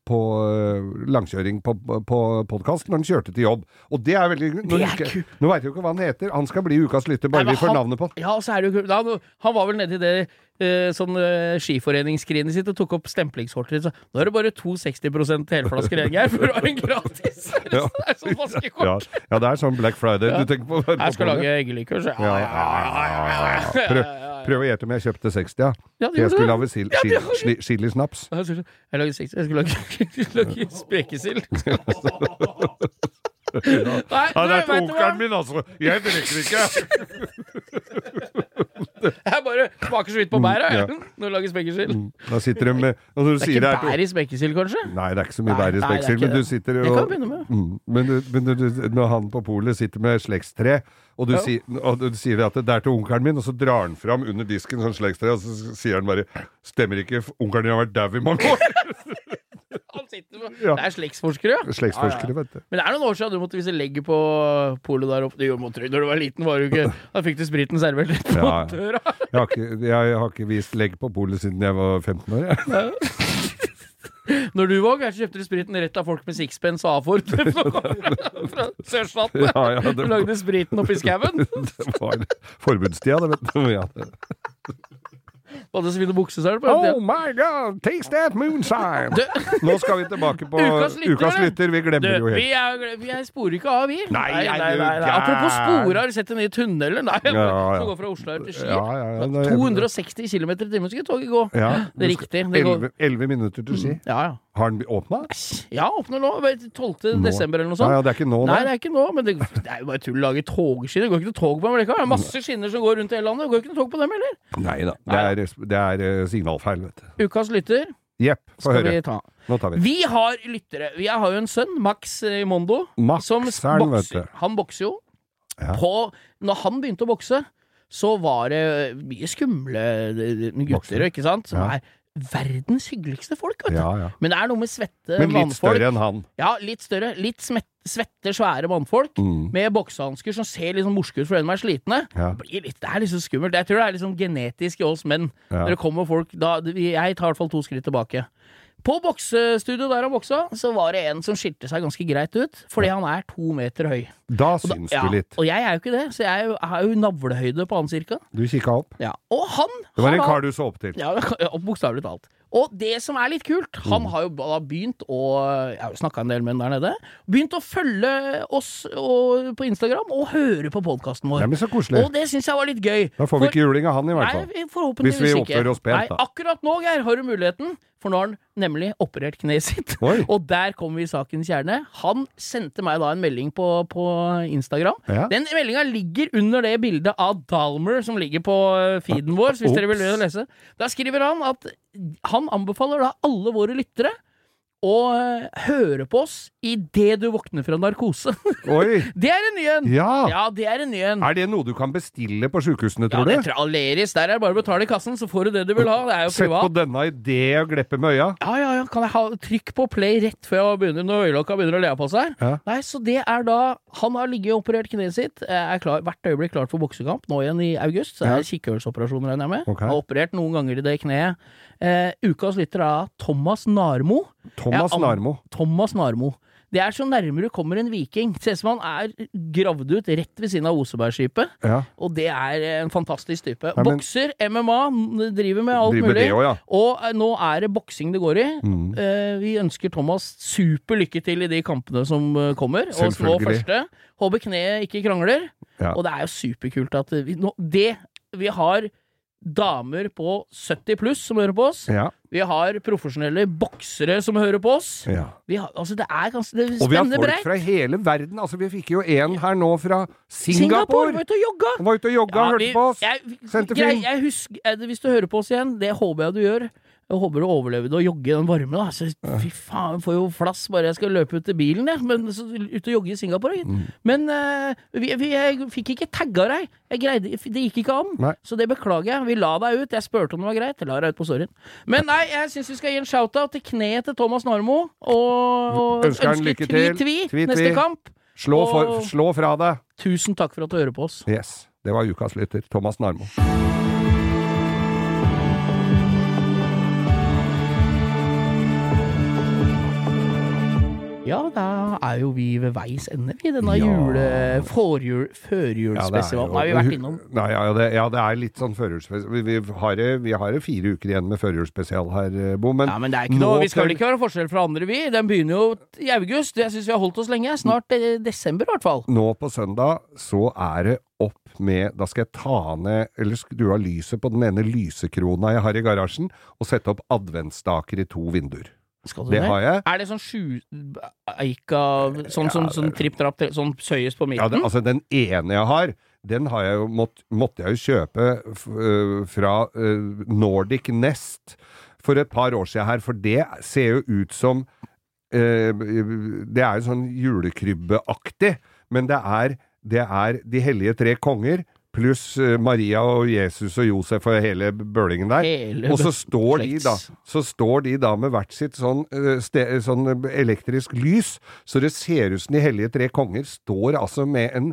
Speaker 2: på øh, langkjøring på, på podkast når han kjørte til jobb. Og det er veldig Nå,
Speaker 3: Det er
Speaker 2: husker jeg-
Speaker 3: kult.
Speaker 2: nå veit jeg jo ikke hva han heter. Han skal bli ukas lytter,
Speaker 3: Nei,
Speaker 2: bare
Speaker 3: men
Speaker 2: vi får
Speaker 3: han-
Speaker 2: navnet på han.
Speaker 3: Ja, og så er det jo kult. Han, han var vel nedi det eh, sånn eh, skiforeningsskrinet sitt og tok opp stemplingskortet sitt. så Nå er det bare to 60 helflasker igjen her, for du har en gratis! Det
Speaker 2: Ja.
Speaker 3: er sånn vaskekort.
Speaker 2: Ja, ja, det er sånn Black Friday. Du tenker på, på
Speaker 3: Jeg skal
Speaker 2: polet.
Speaker 3: lage eggelikør,
Speaker 2: Ja,
Speaker 3: så
Speaker 2: ja, ja, ja, ja. Prøv, prøv å gjette om jeg kjøpte 60, ja. For jeg
Speaker 3: Ja, det gjorde
Speaker 2: skulle
Speaker 3: du.
Speaker 2: lage sil,
Speaker 3: Ja,
Speaker 2: sil,
Speaker 3: det gjorde
Speaker 2: sli, chilisnaps.
Speaker 3: Jeg skulle jeg lage seks Jeg skulle lage, jeg skulle lage spekesild. Nei,
Speaker 2: Ja, det er
Speaker 3: vet du hva?
Speaker 2: tokeren min, altså! Jeg drikker ikke!
Speaker 3: Jeg bare smaker så vidt på bæra jeg,
Speaker 2: Mm, ja.
Speaker 3: når jeg lager spekesild.
Speaker 2: Da sitter de med Når du
Speaker 3: Det er
Speaker 2: sier det Mm.
Speaker 3: ikke
Speaker 2: er
Speaker 3: bær i spekesild, kanskje?
Speaker 2: Nei, det er ikke så mye
Speaker 3: Nei,
Speaker 2: bær i
Speaker 3: nei, det er
Speaker 2: spekksild,
Speaker 3: ikke
Speaker 2: men du
Speaker 3: det.
Speaker 2: sitter
Speaker 3: Det
Speaker 2: og
Speaker 3: kan vi begynne med.
Speaker 2: Mm, men du, men du, du, når han på polet sitter med slektstre, og du,
Speaker 3: Ja.
Speaker 2: sier, og du sier at det er til onkelen min, og så drar han fram under disken sånn slektstre, og så sier han bare 'Stemmer ikke, onkelen din har vært dau i mange år'.
Speaker 3: Han sitter med.
Speaker 2: Ja.
Speaker 3: Det er slektsforskere, ja.
Speaker 2: Slektsforskere, vet du.
Speaker 3: Men det er noen år siden du måtte vise legget på polet der oppe. Det gjorde man trygt. Når du var liten, var du ikke Da fikk du spriten servert litt på
Speaker 2: Ja.
Speaker 3: døra.
Speaker 2: Jeg har ikke, jeg har ikke vist legg på polet siden jeg var 15 år, jeg.
Speaker 3: Når du var ung, kjøpte du spriten rett av folk med sixpence og A-fort fra sørstaten.
Speaker 2: Ja, ja,
Speaker 3: Du
Speaker 2: det,
Speaker 3: lagde spriten oppi skauen.
Speaker 2: det var forbudstida, det, vet du. Ja.
Speaker 3: Du hadde så fine bukseseler på den tida.
Speaker 2: Oh my god, taste that moonshine! Nå skal vi tilbake på
Speaker 3: Ukas lytter,
Speaker 2: Ukas
Speaker 3: eller?
Speaker 2: lytter. Vi
Speaker 3: Du,
Speaker 2: glemmer jo
Speaker 3: vi,
Speaker 2: helt.
Speaker 3: er, vi er sporer ikke av, vi.
Speaker 2: Nei, er du gæren?
Speaker 3: Apropos spore, har du sett den nye tunnelen? Nei,
Speaker 2: ja.
Speaker 3: Som går fra Oslo her til Ski.
Speaker 2: Ja, ja, ja, det-
Speaker 3: 260 km i timen skulle toget gå.
Speaker 2: Ja,
Speaker 3: Det er
Speaker 2: du skal-
Speaker 3: riktig. Det går, Mm.
Speaker 2: 11, 11 minutter til Ski.
Speaker 3: ja, ja.
Speaker 2: Har den åpna?
Speaker 3: ja, åpner nå. vet du, 12. desember eller noe
Speaker 2: Ja, ja,
Speaker 3: sånt.
Speaker 2: det er ikke nå,
Speaker 3: Nei, det
Speaker 2: nei.
Speaker 3: er ikke nå, men det, det er jo bare tull å lage togskinner. Det går ikke noe tog på dem likevel. Det
Speaker 2: Mm.
Speaker 3: er masse skinner som går rundt i hele landet. Det går ikke noe tog på dem heller.
Speaker 2: Nei da.
Speaker 3: Nei
Speaker 2: Det er, det er eh, signalfeil, vet du.
Speaker 3: Ukas lytter
Speaker 2: Jepp, få
Speaker 3: skal vi
Speaker 2: høre.
Speaker 3: ta.
Speaker 2: Nå tar vi
Speaker 3: Vi har lyttere. Jeg har jo en sønn, Max eh, Mondo.
Speaker 2: Max
Speaker 3: som
Speaker 2: er den, vet
Speaker 3: bokser.
Speaker 2: du.
Speaker 3: Han bokser jo.
Speaker 2: Ja.
Speaker 3: På, når han begynte å bokse, så var det mye skumle eh, gutter,
Speaker 2: Boksere.
Speaker 3: ikke sant? Som
Speaker 2: Ja.
Speaker 3: er verdens hyggeligste folk, vet du.
Speaker 2: Ja, ja.
Speaker 3: Men det er noe med svette
Speaker 2: Men litt
Speaker 3: mannfolk.
Speaker 2: større enn han.
Speaker 3: Ja, litt større. Litt smet- svette, svære mannfolk
Speaker 2: Mm.
Speaker 3: med boksehansker som ser litt sånn morske ut fordi de er slitne.
Speaker 2: Ja.
Speaker 3: Det, blir litt, det er litt så skummelt. Jeg tror det er litt sånn genetisk i oss menn.
Speaker 2: Ja.
Speaker 3: Når det kommer folk da, Jeg tar i hvert fall to skritt tilbake. På boksestudio der han boksa, så var det en som skilte seg ganske greit ut, fordi han er to meter høy.
Speaker 2: Da syns
Speaker 3: Ja,
Speaker 2: du litt.
Speaker 3: og jeg er jo ikke det, så jeg er jo, jeg har jo navlehøyde på han cirka.
Speaker 2: Du kikka opp.
Speaker 3: Ja. Og han
Speaker 2: Det var
Speaker 3: har
Speaker 2: en
Speaker 3: da-
Speaker 2: kar du så opp til.
Speaker 3: ja, ja, bokstavelig talt. Og det som er litt kult, han
Speaker 2: Mm.
Speaker 3: har jo da begynt å Jeg har jo snakka en del med han der nede. Begynt å følge oss og, på Instagram og høre på podkasten vår.
Speaker 2: Nei, men så koselig.
Speaker 3: og det syns jeg var litt gøy.
Speaker 2: Da får vi ikke juling av han, i hvert fall.
Speaker 3: Nei,
Speaker 2: Hvis
Speaker 3: forhåpentligvis
Speaker 2: vi
Speaker 3: ikke.
Speaker 2: oppfører oss pent,
Speaker 3: Nei,
Speaker 2: da.
Speaker 3: akkurat nå, Geir, har du muligheten, for nå har han nemlig operert kneet sitt.
Speaker 2: Oi.
Speaker 3: Og der kommer vi i sakens kjerne. Han sendte meg da en melding på, på Instagram.
Speaker 2: Ja.
Speaker 3: Den meldinga ligger under det bildet av Dalmer som ligger på eh, feeden vår, så hvis dere vil
Speaker 2: Ops.
Speaker 3: lese. Da skriver han at han anbefaler da alle våre lyttere å eh, høre på oss idet du våkner fra narkose.
Speaker 2: Oi!
Speaker 3: Det er en ny en!
Speaker 2: Ja!
Speaker 3: Ja, det er en ny en.
Speaker 2: Er det noe du kan bestille på sjukehusene,
Speaker 3: Ja,
Speaker 2: tror
Speaker 3: det
Speaker 2: du?
Speaker 3: tror jeg Aleris, der er det bare å betale i kassen, så får du det du vil ha. Det er jo
Speaker 2: Sett på
Speaker 3: privat.
Speaker 2: denne i det og gleppe med øya.
Speaker 3: Ja, ja, ja, kan jeg ha trykk på play rett før jeg begynner når øyelokka begynner å le på seg? her?
Speaker 2: Ja.
Speaker 3: Nei, så det er da Han har ligget og operert kneet sitt, er klar, hvert øyeblikk klart for boksekamp, nå igjen i august. Så er det kikkhullsoperasjon, regner jeg med.
Speaker 2: Ok.
Speaker 3: Har operert noen ganger i det kneet. Eh, ukas lytter er Thomas Narmo.
Speaker 2: Thomas
Speaker 3: Ja, an-
Speaker 2: Narmo.
Speaker 3: Thomas Narmo. Det er så nærmere du kommer en viking. Ser ut som han er gravd ut rett ved siden av Osebergskipet.
Speaker 2: Ja.
Speaker 3: Og det er eh, en fantastisk type.
Speaker 2: Nei, men-
Speaker 3: Bokser, MMA, n- driver med alt
Speaker 2: Driver
Speaker 3: mulig.
Speaker 2: det Mm. òg, ja.
Speaker 3: Og eh, nå er det boksing det går i. Eh, vi ønsker Thomas super lykke til i de kampene som eh, kommer. Og nå
Speaker 2: Selvfølgelig.
Speaker 3: første. Håper kneet ikke krangler.
Speaker 2: Ja.
Speaker 3: Og det er jo superkult at vi nå, Det Vi har damer på 70 pluss som hører på oss.
Speaker 2: Ja.
Speaker 3: Vi har profesjonelle boksere som hører på oss.
Speaker 2: ja.
Speaker 3: Vi har, altså, det er ganske det er
Speaker 2: Og vi har
Speaker 3: spennende
Speaker 2: folk
Speaker 3: breit.
Speaker 2: fra hele verden. Altså, vi fikk jo en her nå fra
Speaker 3: Singapore
Speaker 2: Singapore.
Speaker 3: var ute og jogga!
Speaker 2: Han var ute og jogga,
Speaker 3: Ja,
Speaker 2: hørte
Speaker 3: vi-
Speaker 2: på oss.
Speaker 3: Jeg,
Speaker 2: Sendte
Speaker 3: grei-
Speaker 2: film.
Speaker 3: Jeg husker, eh, hvis du hører på oss igjen, det håper jeg du gjør. Jeg håper du overlevde å jogge i den varmen. Da. Så, fy faen, jeg får jo flass bare jeg skal løpe ut til bilen. Jeg. Men så, ut og jogge i Singapore. gitt.
Speaker 2: Mm.
Speaker 3: Men eh, vi, vi, jeg fikk ikke tagga deg. Jeg greide, det gikk ikke an.
Speaker 2: Nei.
Speaker 3: Så det beklager jeg. Vi la deg ut. Jeg spurte om det var greit. Jeg la deg ut på storyen. Men nei, jeg syns vi skal gi en shout-out til kneet til Thomas Normo. Og, og
Speaker 2: Ønsker han lykke til. Tvi,
Speaker 3: tvi-tvi
Speaker 2: tvi.
Speaker 3: neste kamp.
Speaker 2: Slå, for,
Speaker 3: Og-
Speaker 2: slå fra deg.
Speaker 3: Tusen takk for at du hører på oss.
Speaker 2: Yes. Det var ukas lytter. Thomas Narmo.
Speaker 3: Ja, da er jo vi ved veis ende i denne
Speaker 2: Ja.
Speaker 3: jule... Forjul... Førjulsfestivalen har vi vært innom.
Speaker 2: Nei, ja, ja, det, ja, det er litt sånn førjulsspesial. Vi, vi, har det- vi har det fire uker igjen med førjulsspesial her, eh, Bo. Men,
Speaker 3: Ja, men det er ikke
Speaker 2: nå
Speaker 3: noe, Vi skal
Speaker 2: til-
Speaker 3: vel ikke være forskjell fra andre, vi. Den begynner jo t- i august. Jeg syns vi har holdt oss lenge. Snart eh, desember, i hvert fall.
Speaker 2: nå på søndag så er det opp med Da skal jeg ta ned Eller skru av lyset på den ene lysekrona jeg har i garasjen, og sette opp adventsstaker i to vinduer.
Speaker 3: Skal du
Speaker 2: Det
Speaker 3: ned?
Speaker 2: har jeg.
Speaker 3: Er det sånn sju... Eika Sånn, sånn, sånn tripp-trapp, tri- sånn søyest på
Speaker 2: Ja, det,
Speaker 3: midten?
Speaker 2: altså, den ene jeg har, den har jeg jo mått, måtte jeg jo kjøpe f, øh, fra øh, Nordic Nest for et par år siden her, for det ser jo ut som øh, Det er jo sånn julekrybbeaktig, men det er, det er De hellige tre konger pluss øh, Maria og Jesus og Josef og hele bølingen der.
Speaker 3: Hele
Speaker 2: og så står, de
Speaker 3: slekts.
Speaker 2: da, så står de da med hvert sitt sånn, øh, ste, sånn øh, elektrisk lys, så det ser ut som De hellige tre konger står altså med en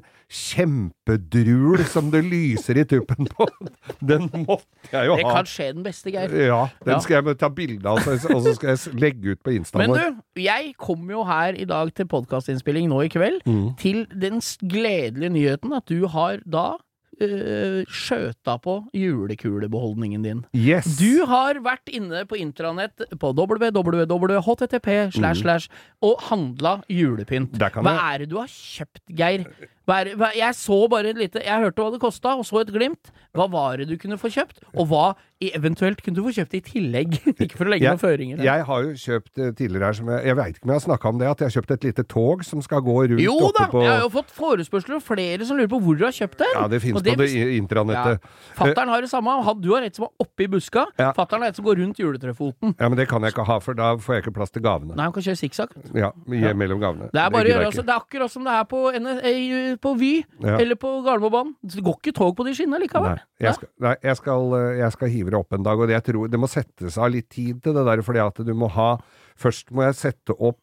Speaker 2: kjempedrul som det lyser i tuppen på. Den måtte jeg jo
Speaker 3: Det
Speaker 2: ha.
Speaker 3: kan skje den beste, Geir.
Speaker 2: Ja,
Speaker 3: Ja.
Speaker 2: den skal jeg ta bilde av, så- og så skal jeg s- legge ut på Instaen
Speaker 3: Men
Speaker 2: vår.
Speaker 3: du, jeg kom jo her i dag til podkastinnspilling nå i kveld,
Speaker 2: Mm.
Speaker 3: til den s- gledelige nyheten at du har da øh, skjøta på julekulebeholdningen din.
Speaker 2: Yes!
Speaker 3: Du har vært inne på intranett på www.http slash slash og handla julepynt.
Speaker 2: Mm. Der kan
Speaker 3: Hva
Speaker 2: jeg-
Speaker 3: er det du har kjøpt, Geir? Hva er, hva, jeg så bare et lite Jeg hørte hva det kosta, og så et glimt. Hva var det du kunne få kjøpt? Og hva i- eventuelt kunne du få kjøpt i tillegg? Ikke for å legge noen føringer. her.
Speaker 2: Jeg har jo kjøpt eh, tidligere her, som jeg, jeg veit ikke om jeg har snakka om det, at jeg har kjøpt et lite tog som skal gå rundt
Speaker 3: Jo da!
Speaker 2: oppe på
Speaker 3: Jeg har jo fått forespørsler og flere som lurer på hvor du har kjøpt den.
Speaker 2: Ja, det fins
Speaker 3: Og det
Speaker 2: på det i-
Speaker 3: Ja.
Speaker 2: intranettet.
Speaker 3: Fattern har det samme. Han, du har et som er oppe i buska.
Speaker 2: Ja.
Speaker 3: Fattern har et som går rundt juletrefoten.
Speaker 2: Ja, men det kan jeg ikke ha, for da får jeg ikke plass til gavene.
Speaker 3: Nei, han kan kjøre sikksakk.
Speaker 2: Ja, i- mellom gavene.
Speaker 3: Det er
Speaker 2: gidder
Speaker 3: bare å gjøre
Speaker 2: jeg ikke.
Speaker 3: altså, Det er akkurat som det er på NS, eh, eh, på Vy
Speaker 2: Ja.
Speaker 3: eller på Gardermobanen. Det går ikke tog på de skinnene likevel.
Speaker 2: Nei, jeg skal, nei, jeg skal, eh, jeg skal hive det opp en dag, og jeg tror det må settes av litt tid til det der, fordi at du må ha Først må jeg sette opp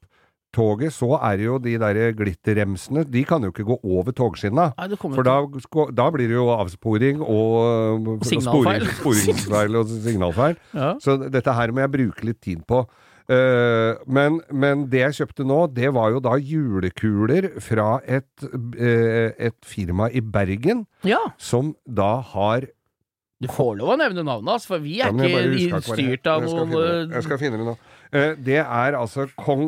Speaker 2: toget, så er det jo de der glitterremsene De kan jo ikke gå over togskinna.
Speaker 3: Nei, det kommer
Speaker 2: For da, sko- da blir det jo avsporing og eh,
Speaker 3: Signalfeil.
Speaker 2: sporing- Sporingsfeil og signalfeil.
Speaker 3: Ja.
Speaker 2: Så dette her må jeg bruke litt tid på. Eh, men, men det jeg kjøpte nå, det var jo da julekuler fra et, eh, et firma i Bergen
Speaker 3: ja.
Speaker 2: som da har
Speaker 3: Du får lov å nevne navnet hans, for vi
Speaker 2: Ja,
Speaker 3: er
Speaker 2: men jeg bare husker
Speaker 3: ikke
Speaker 2: ikke hva det
Speaker 3: styrt
Speaker 2: het.
Speaker 3: av
Speaker 2: Jeg skal
Speaker 3: noen eh,
Speaker 2: finne det. Jeg skal finne det nå. Eh, Det er altså kong,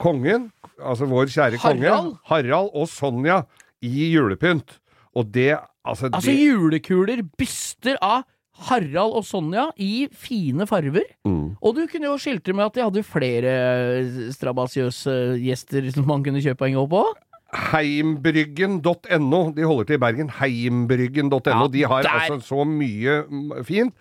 Speaker 2: kongen, altså vår kjære konge,
Speaker 3: Harald?
Speaker 2: Harald og Sonja i julepynt. Og det Altså,
Speaker 3: Altså
Speaker 2: det
Speaker 3: julekuler, byster av Harald og Sonja i fine farver.
Speaker 2: Mm.
Speaker 3: Og du kunne jo skiltre med at de hadde flere eh, strabasiøse gjester som man kunne kjøpe en jobb på.
Speaker 2: Heimbryggen.no. De holder til i Bergen. Heimbryggen.no.
Speaker 3: Ja,
Speaker 2: de har
Speaker 3: der.
Speaker 2: altså så mye mm, fint.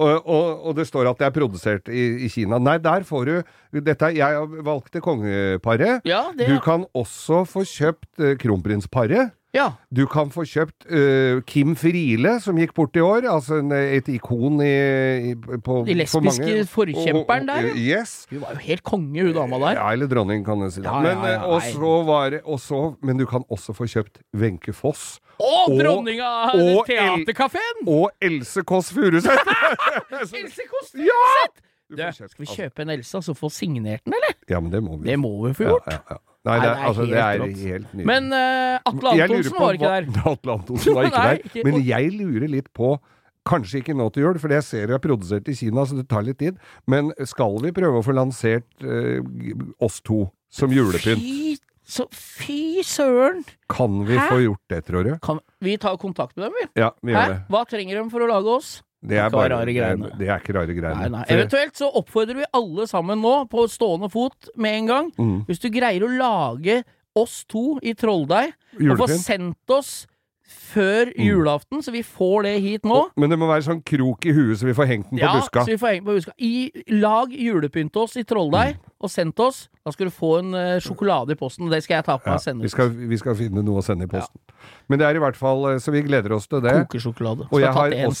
Speaker 2: Og, og, og det står at det er produsert i, i Kina. Nei, der får du Dette er- Jeg valgte kongeparet.
Speaker 3: Ja, det
Speaker 2: Du kan også få kjøpt eh, kronprinsparet.
Speaker 3: ja.
Speaker 2: Du kan få kjøpt eh, Kim Friele, som gikk bort i år. Altså en, et ikon i, i på,
Speaker 3: De
Speaker 2: for mange-
Speaker 3: lesbiske forkjemperen der,
Speaker 2: Og- og- Yes.
Speaker 3: Hun var jo helt konge, hun dama der.
Speaker 2: Ja, eller dronning, kan du si. det.
Speaker 3: Ja, ja,
Speaker 2: men,
Speaker 3: ja,
Speaker 2: eh, og
Speaker 3: nei.
Speaker 2: så var det og så- Men du kan også få kjøpt Wenche Foss.
Speaker 3: Og
Speaker 2: Og-
Speaker 3: dronninga av
Speaker 2: og
Speaker 3: teaterkafeen!
Speaker 2: Og Else Kåss Furuseth! Så-
Speaker 3: Else Kåss
Speaker 2: Ja!
Speaker 3: Furuseth!
Speaker 2: Du
Speaker 3: Du,
Speaker 2: får kjøpt
Speaker 3: Skal vi
Speaker 2: alt.
Speaker 3: kjøpe en Else og så få signert den, eller?
Speaker 2: Ja, men det må vi.
Speaker 3: Det må vi få
Speaker 2: Ja,
Speaker 3: gjort.
Speaker 2: ja, ja. Nei,
Speaker 3: Nei,
Speaker 2: det er,
Speaker 3: det er
Speaker 2: altså, det
Speaker 3: helt
Speaker 2: er
Speaker 3: rått.
Speaker 2: helt nydelig.
Speaker 3: Men eh, Atle
Speaker 2: Jeg lurer
Speaker 3: Antonsen
Speaker 2: på
Speaker 3: var ikke
Speaker 2: hva-
Speaker 3: der.
Speaker 2: Atle Antonsen var ikke
Speaker 3: Nei,
Speaker 2: der.
Speaker 3: ikke-
Speaker 2: Men jeg lurer litt på Kanskje ikke nå til jul, for jeg ser det er produsert i Kina, så det tar litt tid. Men skal vi prøve å få lansert eh, oss to som julepynt?
Speaker 3: Fy, så, fy søren!
Speaker 2: Kan vi
Speaker 3: Hæ?
Speaker 2: få gjort det, tror du?
Speaker 3: Kan vi ta kontakt med dem, vi?
Speaker 2: Ja, vi
Speaker 3: Hæ?
Speaker 2: gjør det.
Speaker 3: Hva trenger de for å lage oss?
Speaker 2: Det er,
Speaker 3: Ikke
Speaker 2: bare,
Speaker 3: rare greiene.
Speaker 2: det er ikke rare greiene.
Speaker 3: Nei, nei.
Speaker 2: For-
Speaker 3: Eventuelt så oppfordrer vi alle sammen nå, på stående fot med en gang,
Speaker 2: Mm.
Speaker 3: hvis du greier å lage oss to i Trolldeig, og få
Speaker 2: Julepynt.
Speaker 3: sendt oss før
Speaker 2: Mm.
Speaker 3: julaften, så vi får det hit nå.
Speaker 2: Men det må være sånn krok i huet så vi får hengt den på
Speaker 3: Ja,
Speaker 2: buska.
Speaker 3: så vi får henge på buska. I, lag julepynt til oss i Trolldeig,
Speaker 2: Mm.
Speaker 3: og send til oss. Da skal du få en eh, sjokolade i posten, og det skal jeg ta på
Speaker 2: Ja,
Speaker 3: meg og sende
Speaker 2: vi,
Speaker 3: ut.
Speaker 2: skal, vi skal finne noe å sende i posten. Men det er i hvert fall eh, Så vi gleder oss til det. Og
Speaker 3: Kokesjokolade. Skal
Speaker 2: jeg
Speaker 3: ta
Speaker 2: har,
Speaker 3: til en
Speaker 2: også,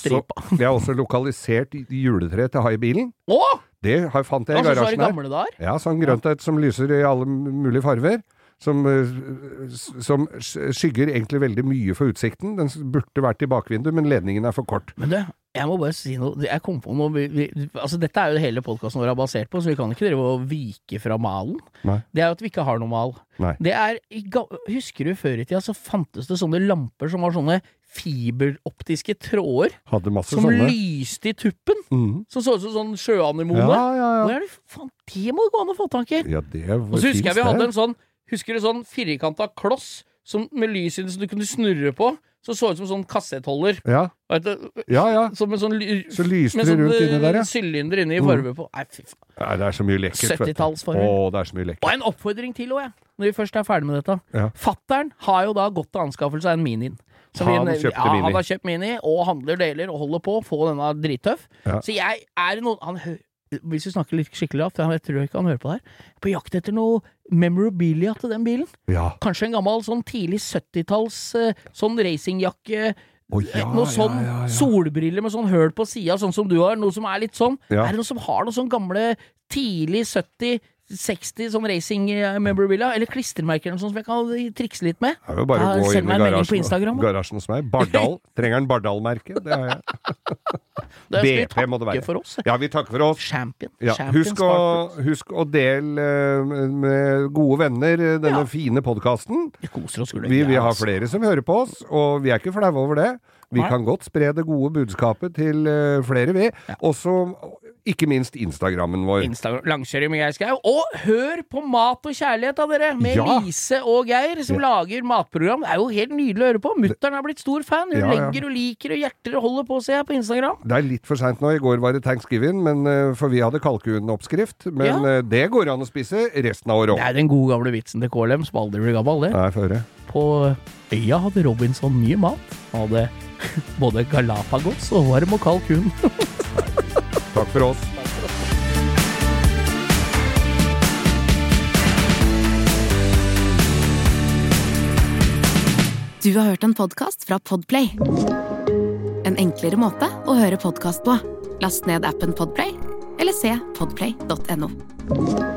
Speaker 3: stripe.
Speaker 2: jeg har også lokalisert juletre til å ha i bilen.
Speaker 3: Å!
Speaker 2: Det har, fant jeg i
Speaker 3: Altså, så er
Speaker 2: garasjen
Speaker 3: det
Speaker 2: her.
Speaker 3: gamle dager.
Speaker 2: Ja, sånn grønt et som lyser i alle mulige farver. Som, eh, s- som sk- skygger egentlig veldig mye for utsikten. Den s- burde vært i bakvinduet, men ledningen er for kort.
Speaker 3: Men du, jeg må bare si noe. Jeg kom på noe vi, vi, altså Dette er jo det hele podkasten vår er basert på, så vi kan ikke drive og vike fra malen.
Speaker 2: Nei.
Speaker 3: Det er jo at vi ikke har noe mal.
Speaker 2: Nei.
Speaker 3: Det er, i ga- Husker du før i tida så fantes det sånne lamper som var sånne fiberoptiske tråder
Speaker 2: Hadde masse
Speaker 3: som
Speaker 2: sånne.
Speaker 3: lyste i tuppen?
Speaker 2: Mhm.
Speaker 3: Som så ut som sånn sjøanemone?
Speaker 2: Ja, ja,
Speaker 3: Hvor
Speaker 2: ja.
Speaker 3: er det, faen, det må det gå an å få tak i!
Speaker 2: ja det var
Speaker 3: Og så husker jeg vi hadde
Speaker 2: det.
Speaker 3: en sånn Husker du sånn firkanta kloss som, med lys i den som du kunne snurre på? Som så ut som sånn kassettholder.
Speaker 2: Ja,
Speaker 3: Vet du,
Speaker 2: ja. ja.
Speaker 3: som en sånn ly-
Speaker 2: Så lyste
Speaker 3: med
Speaker 2: det rundt
Speaker 3: sånn,
Speaker 2: inni der, ja.
Speaker 3: eh, sylinder inni i farve på. Nei, fy faen.
Speaker 2: Nei, det er så mye lekkert. vet du.
Speaker 3: 70-tallsfarger.
Speaker 2: Å, det er så mye lekkert.
Speaker 3: Og en oppfordring til òg, jeg. Når vi først er ferdig med dette.
Speaker 2: Ja.
Speaker 3: Fattern har jo da gått til anskaffelse av en Minin. Så
Speaker 2: Han kjøpte
Speaker 3: ja,
Speaker 2: Mini.
Speaker 3: Han har kjøpt Mini, og handler deler, og holder på å få denne drittøff.
Speaker 2: Ja.
Speaker 3: Så jeg er noen han, hø- Hvis vi snakker litt skikkelig lavt, for jeg tror ikke han hører på det her, på jakt etter noe memorabilia til den bilen.
Speaker 2: Ja.
Speaker 3: Kanskje en gammel sånn tidlig 70-talls eh, sånn racingjakke.
Speaker 2: Å, ja,
Speaker 3: noe sånn
Speaker 2: ja, ja, ja.
Speaker 3: solbriller med sånn høl på sida, sånn som du har. Noe som er litt sånn.
Speaker 2: Ja.
Speaker 3: Er det noen som har noe sånn gamle tidlig 70, 60 sånn racing eh, memorabilia? Eller klistremerker eller noe sånt som jeg kan trikse litt med?
Speaker 2: Det er jo bare
Speaker 3: Ja,
Speaker 2: å gå
Speaker 3: send
Speaker 2: inn
Speaker 3: meg
Speaker 2: i
Speaker 3: en melding på
Speaker 2: garasjen,
Speaker 3: Instagram, da.
Speaker 2: garasjen hos meg. Bardal. Trenger en Bardal-merke? Det har jeg.
Speaker 3: Da skal vi
Speaker 2: BP må det
Speaker 3: takke
Speaker 2: være.
Speaker 3: For oss. eh.
Speaker 2: Ja, vi takker for oss.
Speaker 3: Champion.
Speaker 2: Ja,
Speaker 3: Champion
Speaker 2: husk, å,
Speaker 3: Spark Plugs.
Speaker 2: husk å dele eh, med gode venner eh, denne
Speaker 3: Ja.
Speaker 2: fine podkasten.
Speaker 3: Vi koser oss. gulig.
Speaker 2: Vi, vi
Speaker 3: Ja,
Speaker 2: har
Speaker 3: altså.
Speaker 2: flere som hører på oss, og vi er ikke flaue over det. Vi
Speaker 3: Nei.
Speaker 2: kan godt spre det gode budskapet til eh, flere, vi. Også ikke minst Instagrammen vår.
Speaker 3: Instagram, langkjøring med Geir Skau. Og hør på Mat og kjærlighet, da, dere! Med
Speaker 2: Ja.
Speaker 3: Lise og Geir, som lager matprogram. Det er jo helt nydelig å høre på. Mutter'n er blitt stor fan. Hun
Speaker 2: Ja, ja.
Speaker 3: legger og liker og hjerter og holder på, ser jeg, på Instagram.
Speaker 2: Det er litt for seint nå. I går var det thanksgiving, men, eh, for vi hadde kalkunoppskrift. Men
Speaker 3: Ja.
Speaker 2: eh, det går an å spise resten av året
Speaker 3: Det
Speaker 2: òg.
Speaker 3: er den gode gamle vitsen til KLM, som aldri blir gammel, det.
Speaker 2: Nei, få høre.
Speaker 3: På øya hadde Robinson mye mat. Han hadde både Galapagos og varm og kald kun.
Speaker 2: Takk for oss.
Speaker 1: Du har hørt en podcast fra Podplay En enklere måte å høre podcast på Last ned appen Podplay Eller se podplay.no